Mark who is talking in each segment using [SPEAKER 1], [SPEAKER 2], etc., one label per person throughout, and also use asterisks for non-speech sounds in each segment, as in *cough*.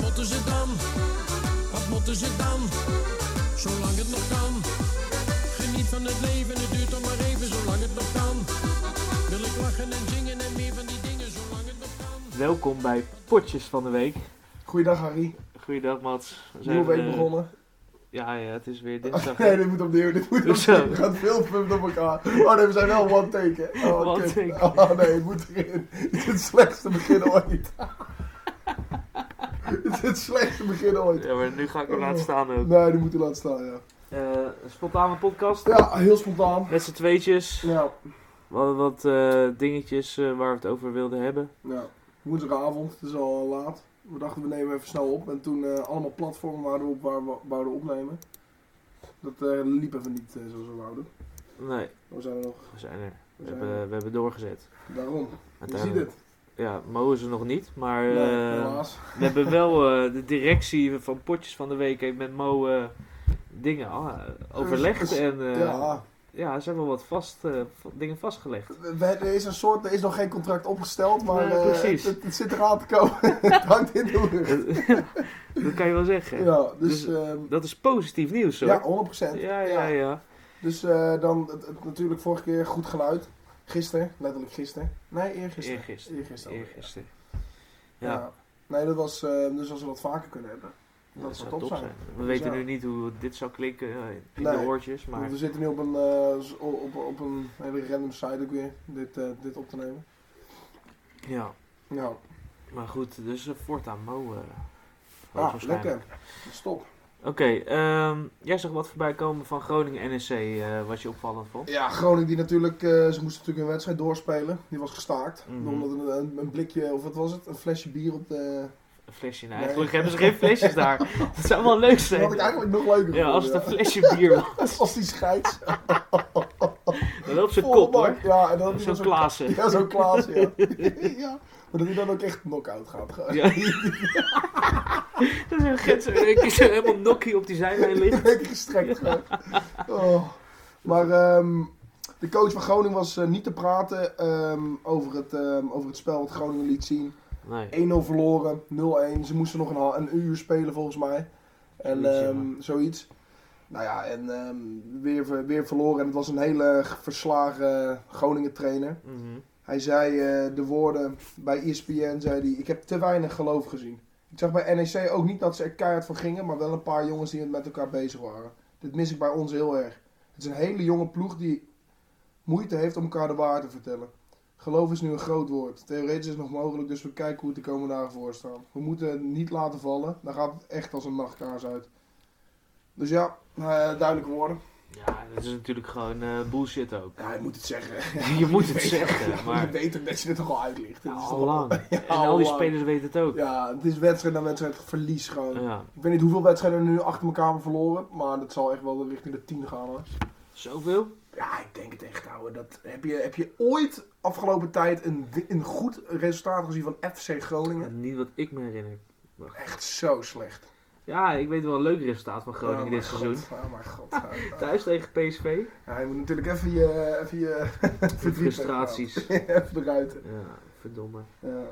[SPEAKER 1] moeten ze dan? Wat moeten ze dan? Zolang het nog kan. Geniet van het leven, het duurt toch maar even, zolang het nog kan. Wil ik lachen en zingen en meer van die dingen, zolang het nog kan.
[SPEAKER 2] Welkom bij Potjes van de Week.
[SPEAKER 3] Goeiedag Harry.
[SPEAKER 2] Goeiedag Mats. We
[SPEAKER 3] Nieuwe week
[SPEAKER 2] eh,
[SPEAKER 3] begonnen.
[SPEAKER 2] Ja, ja, het is
[SPEAKER 3] *laughs*
[SPEAKER 2] weer dinsdag.
[SPEAKER 3] nee, dit moet opnieuw.
[SPEAKER 2] *laughs*
[SPEAKER 3] Dit moet opnieuw.
[SPEAKER 2] Hoezo?
[SPEAKER 3] Het gaat veel punt op elkaar. Oh nee, we zijn wel one take hè. Oh,
[SPEAKER 2] One
[SPEAKER 3] kut.
[SPEAKER 2] take.
[SPEAKER 3] Oh nee, het moet erin. *laughs* Dit is het slechtste begin ooit. *laughs* Dit is het slechtste begin ooit.
[SPEAKER 2] Ja, maar nu ga ik hem laten staan ook.
[SPEAKER 3] Nee, die moet hij laten staan, ja.
[SPEAKER 2] Eh, spontane podcast.
[SPEAKER 3] Ja, heel spontaan.
[SPEAKER 2] Met z'n tweetjes.
[SPEAKER 3] Ja,
[SPEAKER 2] We hadden wat eh, dingetjes eh, waar we het over wilden hebben.
[SPEAKER 3] ja. Woensdagavond, het is al eh, laat. We dachten we nemen even snel op. En toen eh, allemaal platformen waar we op waar we wouden opnemen. Dat eh, liep even niet eh, zoals we wouden.
[SPEAKER 2] Nee,
[SPEAKER 3] Maar We zijn er nog.
[SPEAKER 2] we zijn er. We
[SPEAKER 3] We zijn
[SPEAKER 2] hebben,
[SPEAKER 3] er.
[SPEAKER 2] we hebben doorgezet.
[SPEAKER 3] Daarom. Je ziet
[SPEAKER 2] Uiteindelijk-
[SPEAKER 3] het.
[SPEAKER 2] Ja, Mo is er nog niet, maar
[SPEAKER 3] Nee,
[SPEAKER 2] eh,
[SPEAKER 3] helaas.
[SPEAKER 2] we hebben
[SPEAKER 3] *laughs*
[SPEAKER 2] wel eh, de directie van Potjes van de Week heeft met Mo eh, dingen ah, overlegd.
[SPEAKER 3] Dus-
[SPEAKER 2] En eh,
[SPEAKER 3] ja,
[SPEAKER 2] ja, er zijn wel wat vast, eh, va- dingen vastgelegd.
[SPEAKER 3] we- we- er is een soort, er is nog geen contract opgesteld, maar
[SPEAKER 2] Nee,
[SPEAKER 3] eh,
[SPEAKER 2] precies.
[SPEAKER 3] het, het zit eraan te komen. *laughs* het hangt in de lucht.
[SPEAKER 2] *laughs* dat kan je wel zeggen.
[SPEAKER 3] Ja, dus,
[SPEAKER 2] Dus-
[SPEAKER 3] ehm,
[SPEAKER 2] Dat is positief nieuws hoor.
[SPEAKER 3] ja, 100%.
[SPEAKER 2] ja, ja. ja.
[SPEAKER 3] Dus eh, dan het, het natuurlijk vorige keer goed geluid. Gisteren, letterlijk gisteren. Nee, eergisteren.
[SPEAKER 2] Eergisteren.
[SPEAKER 3] Eergisteren.
[SPEAKER 2] Eergisteren.
[SPEAKER 3] Ja.
[SPEAKER 2] Ja,
[SPEAKER 3] Ja. Nee, dat was, eh, dus als we dat vaker kunnen hebben.
[SPEAKER 2] Ja,
[SPEAKER 3] dat zou top zijn.
[SPEAKER 2] We
[SPEAKER 3] Dus
[SPEAKER 2] weten
[SPEAKER 3] ja.
[SPEAKER 2] nu niet hoe dit zou klinken eh, in de
[SPEAKER 3] Nee.
[SPEAKER 2] oortjes, maar
[SPEAKER 3] Want we zitten nu op een, eh, s- op, op, op een hele random site ook weer, dit, eh, dit op te nemen.
[SPEAKER 2] ja.
[SPEAKER 3] Nou,
[SPEAKER 2] Maar goed, dus eh, voortaan Mo. eh,
[SPEAKER 3] ah,
[SPEAKER 2] hoogstwaarschijnlijk.
[SPEAKER 3] lekker. Stop.
[SPEAKER 2] Oké, ehm, jij zag wat voorbij komen van Groningen NSC, eh, wat je opvallend vond.
[SPEAKER 3] Ja, Groningen die natuurlijk, eh, ze moesten natuurlijk een wedstrijd doorspelen. Die was gestaakt.
[SPEAKER 2] Mhm.
[SPEAKER 3] Omdat een, een, een blikje, of wat was het? Een flesje bier op de...
[SPEAKER 2] Een flesje, nou,
[SPEAKER 3] Nee.
[SPEAKER 2] eigenlijk hebben ze geen
[SPEAKER 3] *laughs*
[SPEAKER 2] flesjes daar. Dat zou wel leuk
[SPEAKER 3] Dat had ik
[SPEAKER 2] zijn.
[SPEAKER 3] eigenlijk nog leuker
[SPEAKER 2] Ja, als het
[SPEAKER 3] gevonden, *laughs*
[SPEAKER 2] een flesje bier was,
[SPEAKER 3] ja. Als die scheids.
[SPEAKER 2] dan op zijn
[SPEAKER 3] volle
[SPEAKER 2] kop hoor.
[SPEAKER 3] bak. Ja, en dan had hij
[SPEAKER 2] Zo'n
[SPEAKER 3] nog zo'n
[SPEAKER 2] Klaassen.
[SPEAKER 3] Ja, zo'n Klaas, ja.
[SPEAKER 2] *laughs*
[SPEAKER 3] ja. *laughs* Maar dat hij dan ook echt knock-out gaat. *laughs* Gewoon.
[SPEAKER 2] Ja. Dat is een gids. *laughs* Ik is er helemaal nokkie op die zijlijn ligt.
[SPEAKER 3] Lekker gestrekt gewoon. Oh. Maar ehm, de coach van Groningen was eh, niet te praten ehm, over, het, ehm, over het spel wat Groningen liet zien.
[SPEAKER 2] Nee.
[SPEAKER 3] 1-0 verloren, 0-1. Ze moesten nog een, ha- een uur spelen volgens mij. En
[SPEAKER 2] Zoiets, ja.
[SPEAKER 3] ehm, zoiets. Nou ja, en ehm, weer, ver- weer verloren. En het was een hele verslagen Groningen trainer.
[SPEAKER 2] Mhm.
[SPEAKER 3] Hij zei eh, de woorden bij E ESPN, zei hij, ik heb te weinig geloof gezien. Ik zag bij NEC ook niet dat ze er keihard voor gingen, maar wel een paar jongens die met elkaar bezig waren. Dit mis ik bij ons heel erg. Het is een hele jonge ploeg die moeite heeft om elkaar de waarheid te vertellen. Geloof is nu een groot woord. Theoretisch is het nog mogelijk, dus we kijken hoe het de komende dagen voor staan. We moeten het niet laten vallen, dan gaat het echt als een nachtkaars uit. Dus ja, eh, duidelijke woorden.
[SPEAKER 2] Ja, dat is natuurlijk gewoon eh, bullshit ook.
[SPEAKER 3] Ja, *laughs* je moet het zeggen.
[SPEAKER 2] *laughs* Je moet het
[SPEAKER 3] weet-
[SPEAKER 2] zeggen,
[SPEAKER 3] ja,
[SPEAKER 2] maar-
[SPEAKER 3] *laughs* Je weet ook dat je het toch al uitlicht.
[SPEAKER 2] Ja,
[SPEAKER 3] Dit is toch
[SPEAKER 2] al lang. En al die
[SPEAKER 3] allang.
[SPEAKER 2] spelers weten het ook.
[SPEAKER 3] Ja, het is wedstrijd na wedstrijd verlies gewoon.
[SPEAKER 2] Ja.
[SPEAKER 3] Ik weet niet hoeveel wedstrijden we nu achter elkaar hebben verloren, maar dat zal echt wel richting de 10 gaan hoor.
[SPEAKER 2] Zoveel?
[SPEAKER 3] Ja, ik denk het echt ouwe. Dat, heb, je, heb je ooit afgelopen tijd een, wi- een goed resultaat gezien van FC Groningen?
[SPEAKER 2] Niet wat ik me herinner.
[SPEAKER 3] Echt zo slecht.
[SPEAKER 2] Ja, ik weet wel een leuk resultaat van Groningen
[SPEAKER 3] Oh,
[SPEAKER 2] dit
[SPEAKER 3] mijn
[SPEAKER 2] seizoen.
[SPEAKER 3] God. Oh mijn god. Ja,
[SPEAKER 2] *laughs*
[SPEAKER 3] ja.
[SPEAKER 2] Thuis tegen
[SPEAKER 3] *laughs*
[SPEAKER 2] PSV.
[SPEAKER 3] Ja, je moet natuurlijk even je, even je *laughs* verdriet
[SPEAKER 2] Frustraties.
[SPEAKER 3] weghouden. even eruit.
[SPEAKER 2] Ja, verdomme.
[SPEAKER 3] Ja.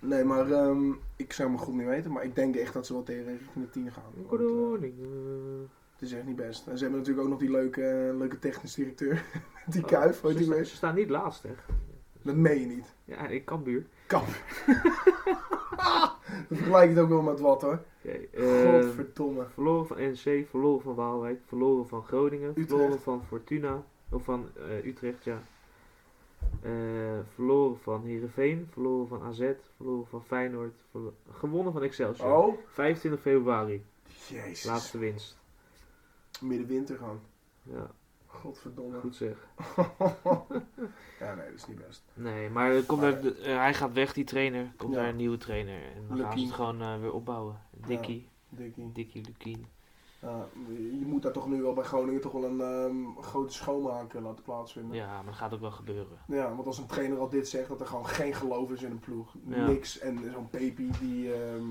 [SPEAKER 3] Nee, maar ehm, ik zou me goed niet weten, maar ik denk echt dat ze wel tegen richting de 10 gaan. Want, eh,
[SPEAKER 2] Groningen.
[SPEAKER 3] Het is echt niet best. En ze hebben natuurlijk ook nog die leuke, eh, leuke technisch directeur. *laughs* Die
[SPEAKER 2] Oh,
[SPEAKER 3] kuif, weet
[SPEAKER 2] Ze,
[SPEAKER 3] je
[SPEAKER 2] sta-
[SPEAKER 3] wel.
[SPEAKER 2] ze staan niet laatst, hè?
[SPEAKER 3] Dat meen je niet.
[SPEAKER 2] Ja, ik kan buur. *laughs*
[SPEAKER 3] Kap. Dat vergelijk het ook wel met wat hoor.
[SPEAKER 2] Oké, eh,
[SPEAKER 3] Godverdomme.
[SPEAKER 2] verloren van NEC, verloren van Waalwijk, verloren van Groningen,
[SPEAKER 3] Utrecht.
[SPEAKER 2] verloren van Fortuna, of van eh, Utrecht, ja. Eh, verloren van Heerenveen, verloren van AZ, verloren van Feyenoord, verlo- gewonnen van Excelsior.
[SPEAKER 3] Oh.
[SPEAKER 2] 25 februari,
[SPEAKER 3] Jezus.
[SPEAKER 2] laatste winst.
[SPEAKER 3] Middenwinter gewoon.
[SPEAKER 2] Ja,
[SPEAKER 3] Godverdomme.
[SPEAKER 2] *laughs* goed zeg.
[SPEAKER 3] ja, nee, dat is niet best.
[SPEAKER 2] Nee, maar er komt
[SPEAKER 3] Maar-
[SPEAKER 2] er, eh, hij gaat weg, die trainer. Komt
[SPEAKER 3] Ja.
[SPEAKER 2] daar een nieuwe trainer. En dan gaan ze
[SPEAKER 3] Lukien.
[SPEAKER 2] het gewoon eh, weer opbouwen. Dikkie,
[SPEAKER 3] Dikkie.
[SPEAKER 2] Dikkie Lukien.
[SPEAKER 3] Ja, je moet daar toch nu wel bij Groningen toch wel een ehm, grote schoonmaak eh, laten plaatsvinden. Ja.
[SPEAKER 2] Ja, maar dat gaat ook wel gebeuren.
[SPEAKER 3] want als een trainer al dit zegt, dat er gewoon geen geloof is in een ploeg.
[SPEAKER 2] Ja.
[SPEAKER 3] Niks. En zo'n Pepi die, ehm,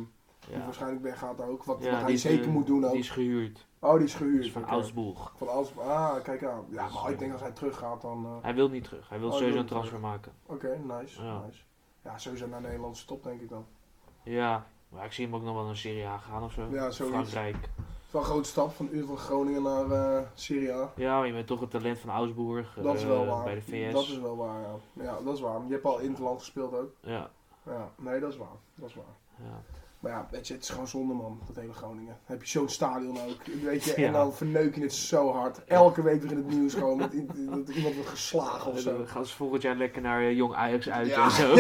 [SPEAKER 3] die
[SPEAKER 2] Ja.
[SPEAKER 3] waarschijnlijk weggaat ook. Wat,
[SPEAKER 2] Ja,
[SPEAKER 3] wat hij
[SPEAKER 2] die is,
[SPEAKER 3] zeker
[SPEAKER 2] eh,
[SPEAKER 3] moet doen ook.
[SPEAKER 2] Die is gehuurd.
[SPEAKER 3] Oh, die is
[SPEAKER 2] Die
[SPEAKER 3] gehuurd.
[SPEAKER 2] is van
[SPEAKER 3] oké.
[SPEAKER 2] Augsburg.
[SPEAKER 3] Van Aus- Ah, kijk aan. Ja,
[SPEAKER 2] Dus,
[SPEAKER 3] maar ik
[SPEAKER 2] eh,
[SPEAKER 3] denk als hij teruggaat dan... eh,
[SPEAKER 2] Hij wil niet terug. Hij wil
[SPEAKER 3] Oh, hij
[SPEAKER 2] sowieso
[SPEAKER 3] wil
[SPEAKER 2] een
[SPEAKER 3] niet
[SPEAKER 2] transfer maken.
[SPEAKER 3] Oké, nice,
[SPEAKER 2] Ja.
[SPEAKER 3] nice. Ja, sowieso naar Nederlandse top denk ik dan.
[SPEAKER 2] Ja, Maar ik zie hem ook nog wel naar Serie A gaan of zo.
[SPEAKER 3] Ja, zoiets.
[SPEAKER 2] Frankrijk.
[SPEAKER 3] Het is wel een grote stap van uur van Groningen naar eh Serie A.
[SPEAKER 2] Ja, maar je bent toch het talent van Augsburg.
[SPEAKER 3] Dat is
[SPEAKER 2] eh,
[SPEAKER 3] wel waar.
[SPEAKER 2] Bij de VS.
[SPEAKER 3] Dat is wel waar, ja. Ja, dat is waar. Je hebt al in het land gespeeld ook.
[SPEAKER 2] Ja.
[SPEAKER 3] Ja, nee, dat is waar. Dat is waar.
[SPEAKER 2] ja.
[SPEAKER 3] Maar ja, weet je, het is gewoon zonde, man, dat hele Groningen. Dan heb je zo'n stadion ook, weet je,
[SPEAKER 2] Ja.
[SPEAKER 3] en dan verneuk je het zo hard. Elke week weer in het nieuws gewoon dat, i- dat iemand wordt geslagen of
[SPEAKER 2] Eh,
[SPEAKER 3] zo.
[SPEAKER 2] Dan gaan ze volgend jaar lekker naar eh, Jong Ajax uit
[SPEAKER 3] Ja.
[SPEAKER 2] en
[SPEAKER 3] *laughs*
[SPEAKER 2] zo.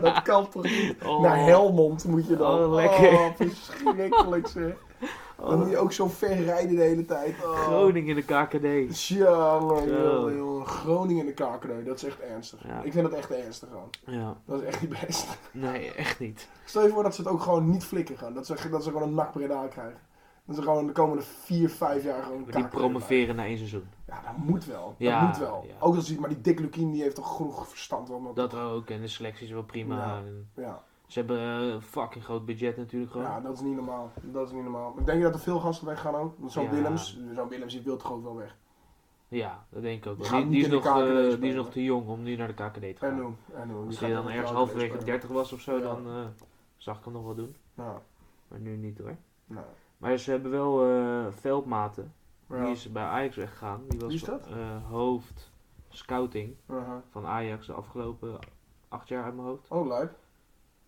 [SPEAKER 3] Dat kan toch niet?
[SPEAKER 2] Oh.
[SPEAKER 3] Naar Helmond moet je dan.
[SPEAKER 2] Oh, lekker.
[SPEAKER 3] Oh, verschrikkelijk zeg. Dan moet
[SPEAKER 2] Oh,
[SPEAKER 3] je ook zo ver rijden de hele tijd. Oh.
[SPEAKER 2] Groningen in de KKD.
[SPEAKER 3] Tja, man,
[SPEAKER 2] Zo.
[SPEAKER 3] jongen, jongen. Groningen in de kakerneu, dat is echt ernstig.
[SPEAKER 2] Ja.
[SPEAKER 3] Ik vind dat echt ernstig, gewoon.
[SPEAKER 2] Ja,
[SPEAKER 3] Dat is echt niet best. *laughs*
[SPEAKER 2] nee, echt niet.
[SPEAKER 3] Stel je voor dat ze het ook gewoon niet flikken gaan. Dat ze, dat ze gewoon een nakbreda krijgen. Dat ze gewoon de komende 4, 5 jaar gewoon
[SPEAKER 2] Maar die
[SPEAKER 3] kaken
[SPEAKER 2] promoveren na één seizoen.
[SPEAKER 3] blijven. Ja, dat moet wel.
[SPEAKER 2] Ja,
[SPEAKER 3] dat moet wel.
[SPEAKER 2] ja.
[SPEAKER 3] Ook als die, maar die Dick Lukien die heeft toch genoeg verstand wel. want-
[SPEAKER 2] Dat ook, en de selectie is wel prima.
[SPEAKER 3] Ja.
[SPEAKER 2] En
[SPEAKER 3] Ja.
[SPEAKER 2] Ze hebben eh, een fucking groot budget natuurlijk gewoon.
[SPEAKER 3] ja, dat is niet normaal. Dat is niet normaal. Ik denk dat er veel gasten weggaan ook. Want Zo'n
[SPEAKER 2] Ja.
[SPEAKER 3] Willems, zo'n Willems die wil toch ook wel weg.
[SPEAKER 2] Ja, dat denk ik ook
[SPEAKER 3] Die
[SPEAKER 2] wel. Die,
[SPEAKER 3] gaat niet
[SPEAKER 2] die is
[SPEAKER 3] in de
[SPEAKER 2] nog, eh,
[SPEAKER 3] KKD
[SPEAKER 2] die is
[SPEAKER 3] spelen.
[SPEAKER 2] nog te jong om nu naar de KKD te
[SPEAKER 3] En
[SPEAKER 2] gaan.
[SPEAKER 3] hoe? En hoe? Die
[SPEAKER 2] Als
[SPEAKER 3] gaat
[SPEAKER 2] hij
[SPEAKER 3] ook
[SPEAKER 2] dan ergens
[SPEAKER 3] wel
[SPEAKER 2] halverwege de
[SPEAKER 3] spelen.
[SPEAKER 2] 30 was of zo,
[SPEAKER 3] Ja.
[SPEAKER 2] dan eh, zag ik hem nog wel doen.
[SPEAKER 3] Nou,
[SPEAKER 2] Maar nu niet hoor.
[SPEAKER 3] nou.
[SPEAKER 2] Maar ze hebben wel eh, veldmaten.
[SPEAKER 3] Ja.
[SPEAKER 2] Die is bij Ajax weggegaan. Die was
[SPEAKER 3] Wie is dat?
[SPEAKER 2] eh, hoofd scouting
[SPEAKER 3] Aha.
[SPEAKER 2] van Ajax de afgelopen acht jaar uit mijn hoofd.
[SPEAKER 3] uh-huh. Oh, leuk.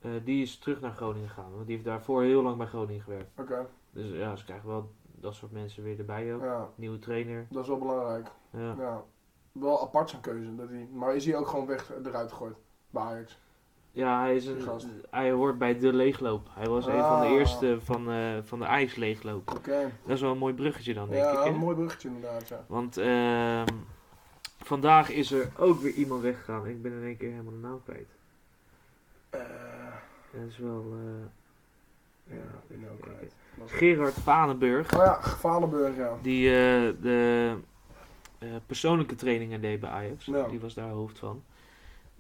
[SPEAKER 2] Eh, die is terug naar Groningen gegaan, want die heeft daarvoor heel lang bij Groningen gewerkt.
[SPEAKER 3] Oké.
[SPEAKER 2] Dus ja, ze krijgen wel dat soort mensen weer erbij ook.
[SPEAKER 3] Ja,
[SPEAKER 2] Nieuwe trainer.
[SPEAKER 3] dat is wel belangrijk.
[SPEAKER 2] Ja.
[SPEAKER 3] Ja, wel apart zijn keuze. Dat hij, maar is hij ook gewoon weg eruit gegooid bij Ajax?
[SPEAKER 2] Ja, hij, is
[SPEAKER 3] Die
[SPEAKER 2] een,
[SPEAKER 3] gast.
[SPEAKER 2] hij hoort bij de leegloop. Hij was een van de
[SPEAKER 3] Ah.
[SPEAKER 2] eerste van, eh, van de Ajax leegloop.
[SPEAKER 3] Oké.
[SPEAKER 2] Dat is wel een mooi bruggetje dan, denk
[SPEAKER 3] Ja,
[SPEAKER 2] ik. eh,
[SPEAKER 3] een
[SPEAKER 2] hè?
[SPEAKER 3] mooi bruggetje inderdaad. Ja.
[SPEAKER 2] Want ehm, vandaag is er ook weer iemand weggegaan. Ik ben in één keer helemaal de naam kwijt.
[SPEAKER 3] Eh,
[SPEAKER 2] Dat is wel eh,
[SPEAKER 3] ja, ik ben ook kwijt. Lastig.
[SPEAKER 2] Gerard Vanenburg.
[SPEAKER 3] Oh ja, Valenburg, ja.
[SPEAKER 2] Die eh, de eh, persoonlijke trainingen deed bij Ajax.
[SPEAKER 3] Ja.
[SPEAKER 2] Die was daar hoofd van.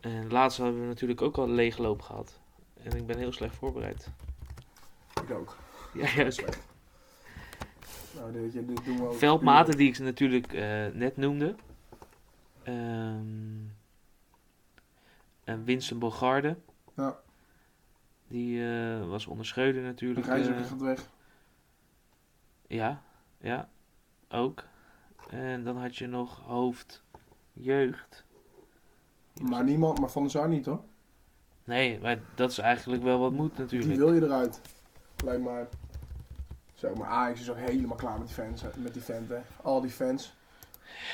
[SPEAKER 2] En laatst hebben we natuurlijk ook al leegloop gehad. En ik ben heel slecht voorbereid. *laughs*
[SPEAKER 3] Ik ook.
[SPEAKER 2] Ja, ja,
[SPEAKER 3] Slecht. Nou, dit, dit doen we ook.
[SPEAKER 2] Veldmaten die ik ze natuurlijk eh, net noemde. Ehm, en Winston Bogarde.
[SPEAKER 3] Ja.
[SPEAKER 2] Die eh, was onder Schreuder natuurlijk.
[SPEAKER 3] Gijzer
[SPEAKER 2] eh,
[SPEAKER 3] gaat weg.
[SPEAKER 2] ja, ja, ook. En dan had je nog hoofd jeugd.
[SPEAKER 3] Maar niemand, maar Van der Sar niet hoor.
[SPEAKER 2] Nee, maar dat is eigenlijk wel wat moet
[SPEAKER 3] Die
[SPEAKER 2] natuurlijk.
[SPEAKER 3] wil je eruit. Lijkt mij. Zo, maar Ajax is ook helemaal klaar met die fans. hè, Met die fans, hè. Al die fans.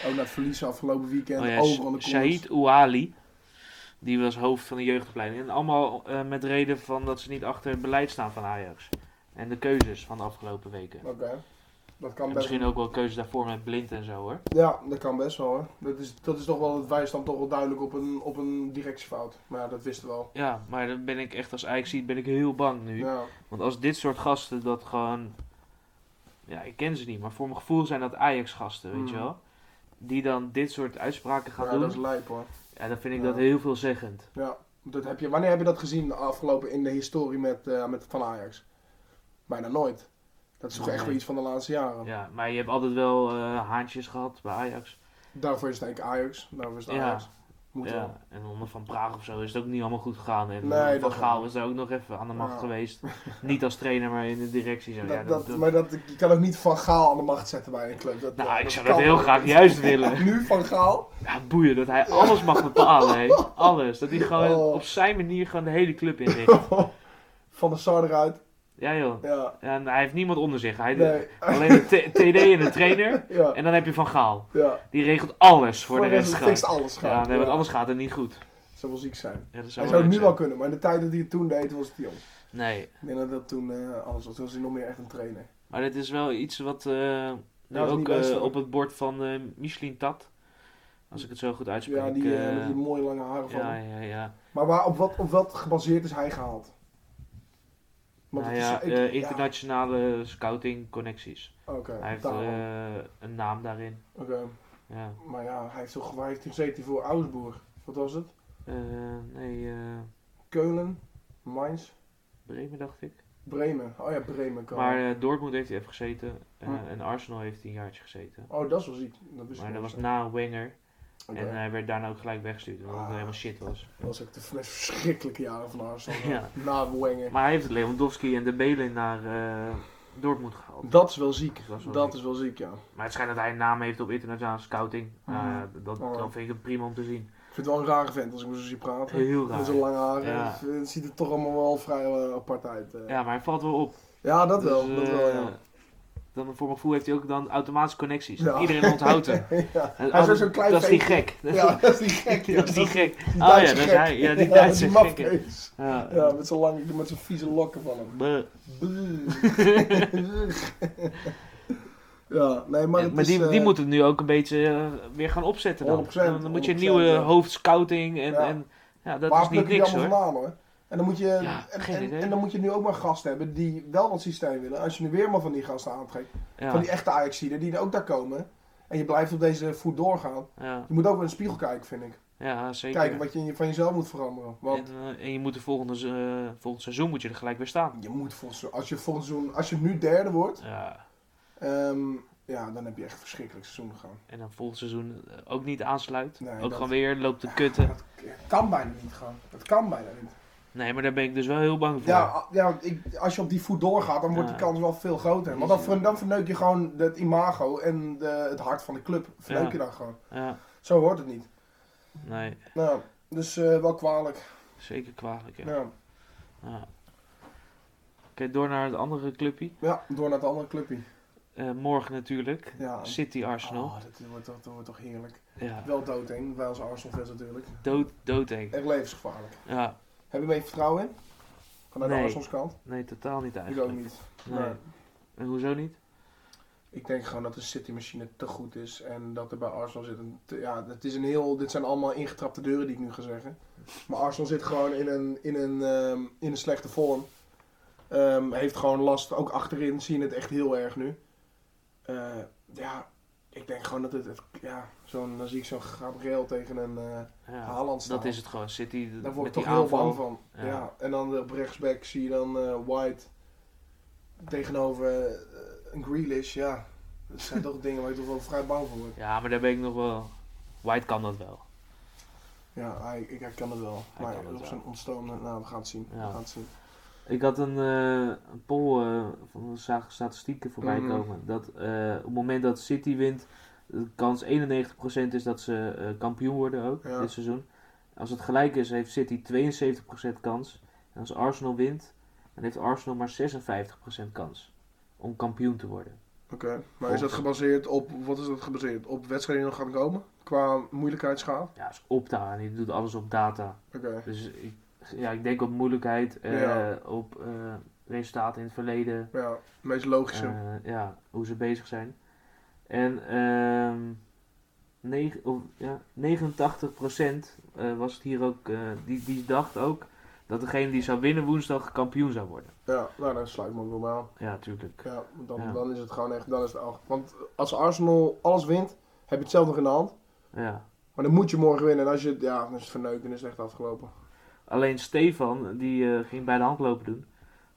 [SPEAKER 3] Ook na het verliezen afgelopen weekend.
[SPEAKER 2] Oh ja,
[SPEAKER 3] overal de koers.
[SPEAKER 2] Shahid Ouali. Die was hoofd van de jeugdopleiding. En allemaal eh, met reden van dat ze niet achter het beleid staan van Ajax. En de keuzes van de afgelopen weken.
[SPEAKER 3] Oké. Dat
[SPEAKER 2] En
[SPEAKER 3] kan best
[SPEAKER 2] misschien ook wel keuzes daarvoor met blind en zo hoor.
[SPEAKER 3] Ja, dat kan best wel hoor. Dat is, dat is toch wel, het wijst dan toch wel duidelijk op een, op een directiefout. Maar ja, dat wisten we al.
[SPEAKER 2] Ja, maar dan ben ik echt als Ajax ziet ben ik heel bang nu.
[SPEAKER 3] Ja,
[SPEAKER 2] Want als dit soort gasten dat gewoon... Ja, ik ken ze niet, maar voor mijn gevoel zijn dat Ajax gasten, weet
[SPEAKER 3] Mhm.
[SPEAKER 2] je wel. Die dan dit soort uitspraken gaan
[SPEAKER 3] ja
[SPEAKER 2] doen.
[SPEAKER 3] dat is lijp hoor.
[SPEAKER 2] Ja, dan vind ik
[SPEAKER 3] Ja.
[SPEAKER 2] dat heel veelzeggend.
[SPEAKER 3] Ja, dat heb je, wanneer heb je dat gezien de afgelopen in de historie met, eh, met Van Ajax? Bijna nooit. Dat is toch echt
[SPEAKER 2] Nee.
[SPEAKER 3] wel iets van de laatste jaren.
[SPEAKER 2] Ja, maar je hebt altijd wel eh, haantjes gehad bij Ajax.
[SPEAKER 3] Daarvoor is het eigenlijk Ajax. Daarvoor is het
[SPEAKER 2] Ja.
[SPEAKER 3] Ajax. Moet wel.
[SPEAKER 2] Ja, en onder Van Praag of zo is het ook niet allemaal goed gegaan. En
[SPEAKER 3] Nee,
[SPEAKER 2] Van
[SPEAKER 3] dat
[SPEAKER 2] Gaal
[SPEAKER 3] wel.
[SPEAKER 2] is daar ook nog even aan de macht
[SPEAKER 3] Ja. *laughs*
[SPEAKER 2] geweest. niet als trainer, maar in de directie. Zo.
[SPEAKER 3] Dat,
[SPEAKER 2] ja,
[SPEAKER 3] dat,
[SPEAKER 2] dat, dat-
[SPEAKER 3] maar dat, je kan ook niet Van Gaal aan de macht zetten bij een club. Dat,
[SPEAKER 2] nou, ik zou dat
[SPEAKER 3] kan
[SPEAKER 2] heel
[SPEAKER 3] niet.
[SPEAKER 2] graag
[SPEAKER 3] *laughs*
[SPEAKER 2] juist willen.
[SPEAKER 3] Nu Van Gaal?
[SPEAKER 2] Ja, boeien, dat hij alles mag bepalen,
[SPEAKER 3] *laughs*
[SPEAKER 2] hè. Alles. Dat hij gewoon
[SPEAKER 3] Oh.
[SPEAKER 2] op zijn manier gewoon de hele club
[SPEAKER 3] *laughs*
[SPEAKER 2] inricht.
[SPEAKER 3] van de Sar eruit.
[SPEAKER 2] Ja, joh.
[SPEAKER 3] Ja.
[SPEAKER 2] En hij heeft niemand onder zich. Hij *laughs*
[SPEAKER 3] Nee.
[SPEAKER 2] Alleen een t- TD en een trainer.
[SPEAKER 3] Ja.
[SPEAKER 2] En dan heb je Van Gaal.
[SPEAKER 3] ja.
[SPEAKER 2] Die regelt alles voor de rest.
[SPEAKER 3] het
[SPEAKER 2] gewoon.
[SPEAKER 3] fixt alles
[SPEAKER 2] Ja,
[SPEAKER 3] gaan.
[SPEAKER 2] nee, want anders gaat het niet goed.
[SPEAKER 3] Het zou wel ziek zijn.
[SPEAKER 2] Ja, dat
[SPEAKER 3] Hij
[SPEAKER 2] zou
[SPEAKER 3] zou
[SPEAKER 2] leuk
[SPEAKER 3] het nu
[SPEAKER 2] zijn.
[SPEAKER 3] wel kunnen, maar in de tijd dat hij het toen deed, was het jong.
[SPEAKER 2] Nee,
[SPEAKER 3] Ik denk dat dat toen eh, alles was. Toen was hij nog meer echt een trainer.
[SPEAKER 2] Maar dit is wel iets wat eh, nu
[SPEAKER 3] Nou, dat is niet
[SPEAKER 2] ook
[SPEAKER 3] best,
[SPEAKER 2] eh,
[SPEAKER 3] hoor.
[SPEAKER 2] op het bord van eh Michelin Tat. Als ik het zo goed uitspreek.
[SPEAKER 3] Ja, die, eh,
[SPEAKER 2] eh,
[SPEAKER 3] met die mooie lange haren van
[SPEAKER 2] ja,
[SPEAKER 3] hem.
[SPEAKER 2] ja, ja.
[SPEAKER 3] Maar waar, op, wat, op wat gebaseerd is hij gehaald? Want
[SPEAKER 2] Nou
[SPEAKER 3] het is-
[SPEAKER 2] ja,
[SPEAKER 3] ik-
[SPEAKER 2] eh,
[SPEAKER 3] ja,
[SPEAKER 2] internationale scouting connecties.
[SPEAKER 3] Oké,
[SPEAKER 2] Hij heeft
[SPEAKER 3] daarom.
[SPEAKER 2] eh, een naam daarin.
[SPEAKER 3] Oké.
[SPEAKER 2] Ja.
[SPEAKER 3] Maar ja, hij heeft toch hij heeft gezeten voor Augsburg. Wat was het?
[SPEAKER 2] Eh, nee, eh,
[SPEAKER 3] Keulen, Mainz,
[SPEAKER 2] Bremen dacht ik.
[SPEAKER 3] Bremen. Oh ja, Bremen. Kan.
[SPEAKER 2] Maar eh, Dortmund heeft hij even gezeten. eh,
[SPEAKER 3] Hm.
[SPEAKER 2] En Arsenal heeft hij een jaartje gezeten.
[SPEAKER 3] oh, dat is wel ziek. Dat wist ik
[SPEAKER 2] Maar dat
[SPEAKER 3] niet.
[SPEAKER 2] was na Wenger.
[SPEAKER 3] Oké.
[SPEAKER 2] En eh, hij werd daarna ook gelijk weggestuurd, omdat het
[SPEAKER 3] Ah.
[SPEAKER 2] helemaal shit was.
[SPEAKER 3] Dat was ook de meest verschrikkelijke jaren van Arsenal. hè.
[SPEAKER 2] *laughs* Ja.
[SPEAKER 3] Na Wenger.
[SPEAKER 2] Maar hij heeft Lewandowski en de Belen naar eh, Dortmund gehaald.
[SPEAKER 3] Dat is wel ziek.
[SPEAKER 2] Dat is wel
[SPEAKER 3] Dat
[SPEAKER 2] ziek.
[SPEAKER 3] is wel ziek, ja.
[SPEAKER 2] Maar het schijnt dat hij een naam heeft op internationale scouting. Eh, dat,
[SPEAKER 3] Oh.
[SPEAKER 2] dat vind ik prima om te zien.
[SPEAKER 3] Ik vind het wel een rare vent als ik hem zo zie praten.
[SPEAKER 2] Heel
[SPEAKER 3] Met
[SPEAKER 2] raar.
[SPEAKER 3] zijn lange haren.
[SPEAKER 2] Ja.
[SPEAKER 3] Het- Het ziet er toch allemaal wel vrij eh, apart uit. eh.
[SPEAKER 2] Ja, maar hij valt wel op.
[SPEAKER 3] Ja, dat wel.
[SPEAKER 2] Dus,
[SPEAKER 3] dat
[SPEAKER 2] eh,
[SPEAKER 3] wel ja.
[SPEAKER 2] Dan voor mijn gevoel heeft hij ook dan automatische connecties.
[SPEAKER 3] Ja.
[SPEAKER 2] Iedereen onthoudt hem.
[SPEAKER 3] *laughs* ja.
[SPEAKER 2] En
[SPEAKER 3] Hij is ook
[SPEAKER 2] alles-
[SPEAKER 3] zo'n klein
[SPEAKER 2] Dat is die
[SPEAKER 3] ventje.
[SPEAKER 2] gek. *laughs*
[SPEAKER 3] ja, dat is die gek. ja.
[SPEAKER 2] dat is die gek.
[SPEAKER 3] Die
[SPEAKER 2] Ah ja,
[SPEAKER 3] Duitse
[SPEAKER 2] dat is
[SPEAKER 3] gek.
[SPEAKER 2] hij. Ja, die
[SPEAKER 3] *laughs* dat
[SPEAKER 2] Duitse
[SPEAKER 3] is
[SPEAKER 2] gek, ja.
[SPEAKER 3] mafkees.
[SPEAKER 2] Ja.
[SPEAKER 3] Ja, met zijn lange, met zijn vieze lokken van hem.
[SPEAKER 2] Bleh.
[SPEAKER 3] *laughs* ja, nee, maar,
[SPEAKER 2] Ja,
[SPEAKER 3] het
[SPEAKER 2] maar
[SPEAKER 3] is,
[SPEAKER 2] die,
[SPEAKER 3] eh,
[SPEAKER 2] die moeten we nu ook een beetje eh, weer gaan opzetten dan.
[SPEAKER 3] 100%,
[SPEAKER 2] dan moet je een
[SPEAKER 3] 100%,
[SPEAKER 2] nieuwe
[SPEAKER 3] ja.
[SPEAKER 2] hoofdscouting en,
[SPEAKER 3] Ja.
[SPEAKER 2] en ja, dat
[SPEAKER 3] waar
[SPEAKER 2] is niet
[SPEAKER 3] plukken
[SPEAKER 2] niks
[SPEAKER 3] die allemaal
[SPEAKER 2] hoor.
[SPEAKER 3] vandaan, hoor. En dan, moet je,
[SPEAKER 2] Ja,
[SPEAKER 3] en,
[SPEAKER 2] geen
[SPEAKER 3] en-
[SPEAKER 2] idee.
[SPEAKER 3] en dan moet je nu ook maar gasten hebben die wel dat systeem willen. Als je nu weer maar van die gasten aantrekt, van
[SPEAKER 2] Ja,
[SPEAKER 3] die echte Ajaxiden die er ook daar komen. En je blijft op deze voet doorgaan.
[SPEAKER 2] ja,
[SPEAKER 3] Je moet ook in de spiegel kijken, vind ik.
[SPEAKER 2] ja, zeker.
[SPEAKER 3] Kijken wat je in je- van jezelf moet veranderen. Want
[SPEAKER 2] en, eh, en je moet de volgende, se- eh, volgend seizoen moet je er gelijk weer staan.
[SPEAKER 3] je moet volgens, als je volgens seizoen, als je nu derde wordt,
[SPEAKER 2] Ja,
[SPEAKER 3] ehm, ja, dan heb je echt een verschrikkelijk seizoen gegaan.
[SPEAKER 2] en dan volgend seizoen eh, ook niet aansluit.
[SPEAKER 3] Nee,
[SPEAKER 2] ook
[SPEAKER 3] dat-
[SPEAKER 2] gewoon weer loopt de kutten.
[SPEAKER 3] Dat kan bijna niet gaan. Dat kan bijna niet.
[SPEAKER 2] Nee, maar daar ben ik dus wel heel bang voor.
[SPEAKER 3] Ja, a- ja want ik, als je op die voet doorgaat, dan wordt
[SPEAKER 2] Ja.
[SPEAKER 3] die kans wel veel groter. Want dan, ver- dan verneuk je gewoon het imago en de, het hart van de club. Verneuk
[SPEAKER 2] Ja.
[SPEAKER 3] je dan gewoon.
[SPEAKER 2] Ja,
[SPEAKER 3] Zo hoort het niet.
[SPEAKER 2] nee,
[SPEAKER 3] Nou, dus eh, wel kwalijk.
[SPEAKER 2] zeker kwalijk. Ja.
[SPEAKER 3] Ja.
[SPEAKER 2] Ja. Oké, door naar het andere clubje.
[SPEAKER 3] Ja, door naar het andere clubje.
[SPEAKER 2] Eh, morgen natuurlijk.
[SPEAKER 3] Ja. Ah.
[SPEAKER 2] City Arsenal.
[SPEAKER 3] Oh, dat wordt, toch- dat wordt toch heerlijk.
[SPEAKER 2] Ja.
[SPEAKER 3] Wel dood heen, wij als Arsenal-fans natuurlijk.
[SPEAKER 2] Dood, doodeng.
[SPEAKER 3] Echt levensgevaarlijk.
[SPEAKER 2] Ja.
[SPEAKER 3] Heb je mee vertrouwen in? Vanuit
[SPEAKER 2] Nee.
[SPEAKER 3] de Arsenal's kant?
[SPEAKER 2] Nee, totaal niet
[SPEAKER 3] Ik ook
[SPEAKER 2] eigenlijk.
[SPEAKER 3] niet.
[SPEAKER 2] Nee.
[SPEAKER 3] Nee.
[SPEAKER 2] En hoezo niet?
[SPEAKER 3] Ik denk gewoon dat de City-machine te goed is en dat er bij Arsenal zit een... te- ja, het is een heel... Dit zijn allemaal ingetrapte deuren die ik nu ga zeggen. Maar Arsenal zit gewoon in een, in een, ehm, in een slechte vorm. Ehm, heeft gewoon last, ook achterin zien het echt heel erg nu. Eh, ja, ik denk gewoon dat het... het- ja, zo'n, dan zie ik zo'n Gabriel tegen een eh
[SPEAKER 2] Ja,
[SPEAKER 3] Haaland staan.
[SPEAKER 2] dat is het gewoon. City d-
[SPEAKER 3] Daar word
[SPEAKER 2] met
[SPEAKER 3] ik toch
[SPEAKER 2] die
[SPEAKER 3] heel
[SPEAKER 2] aanval.
[SPEAKER 3] bang van. Ja.
[SPEAKER 2] Ja.
[SPEAKER 3] en dan eh, op rechtsback zie je dan eh, White tegenover eh, een Grealish. Ja,
[SPEAKER 2] *laughs*
[SPEAKER 3] dat zijn toch dingen waar ik toch wel vrij bang voor word.
[SPEAKER 2] Ja, maar daar ben ik nog wel... White kan dat wel.
[SPEAKER 3] Ja, hij, ik herken het wel.
[SPEAKER 2] Hij kan
[SPEAKER 3] maar
[SPEAKER 2] het
[SPEAKER 3] op
[SPEAKER 2] wel.
[SPEAKER 3] zijn ontstormde, nou we gaan het zien.
[SPEAKER 2] Ja.
[SPEAKER 3] We gaan het zien.
[SPEAKER 2] Ik had een, eh, een poll, eh, van, we zagen statistieken voorbij
[SPEAKER 3] Mhm.
[SPEAKER 2] komen. Dat eh, op het moment dat City wint, de kans 91% is dat ze eh, kampioen worden ook,
[SPEAKER 3] Ja.
[SPEAKER 2] dit seizoen. Als het gelijk is, heeft City 72% kans. En als Arsenal wint, dan heeft Arsenal maar 56% kans om kampioen te worden.
[SPEAKER 3] Oké, maar is dat gebaseerd op, wat is dat gebaseerd? Op wedstrijden die nog gaan komen? Qua moeilijkheidsgraad?
[SPEAKER 2] Ja, dat is Opta en die doet alles op data.
[SPEAKER 3] Oké.
[SPEAKER 2] Dus ik, ja, ik denk op moeilijkheid, eh,
[SPEAKER 3] Ja.
[SPEAKER 2] op eh, resultaten in het verleden.
[SPEAKER 3] Ja, het meest logische.
[SPEAKER 2] Eh, ja, hoe ze bezig zijn. En ehm negen- of, ja, 89% eh, was het hier ook, eh, die, die dacht ook dat degene die zou winnen woensdag kampioen zou worden.
[SPEAKER 3] Ja, nou daar sluit ik me ook wel bij aan.
[SPEAKER 2] Ja, tuurlijk.
[SPEAKER 3] Ja, dan,
[SPEAKER 2] Ja.
[SPEAKER 3] dan is het gewoon echt, dan is het al. Want als Arsenal alles wint, heb je het zelf nog in de hand.
[SPEAKER 2] Ja.
[SPEAKER 3] Maar dan moet je morgen winnen. En als je, ja, dan is het verneuken en is het echt afgelopen.
[SPEAKER 2] Alleen Stefan, die eh, ging bij de handlopen doen.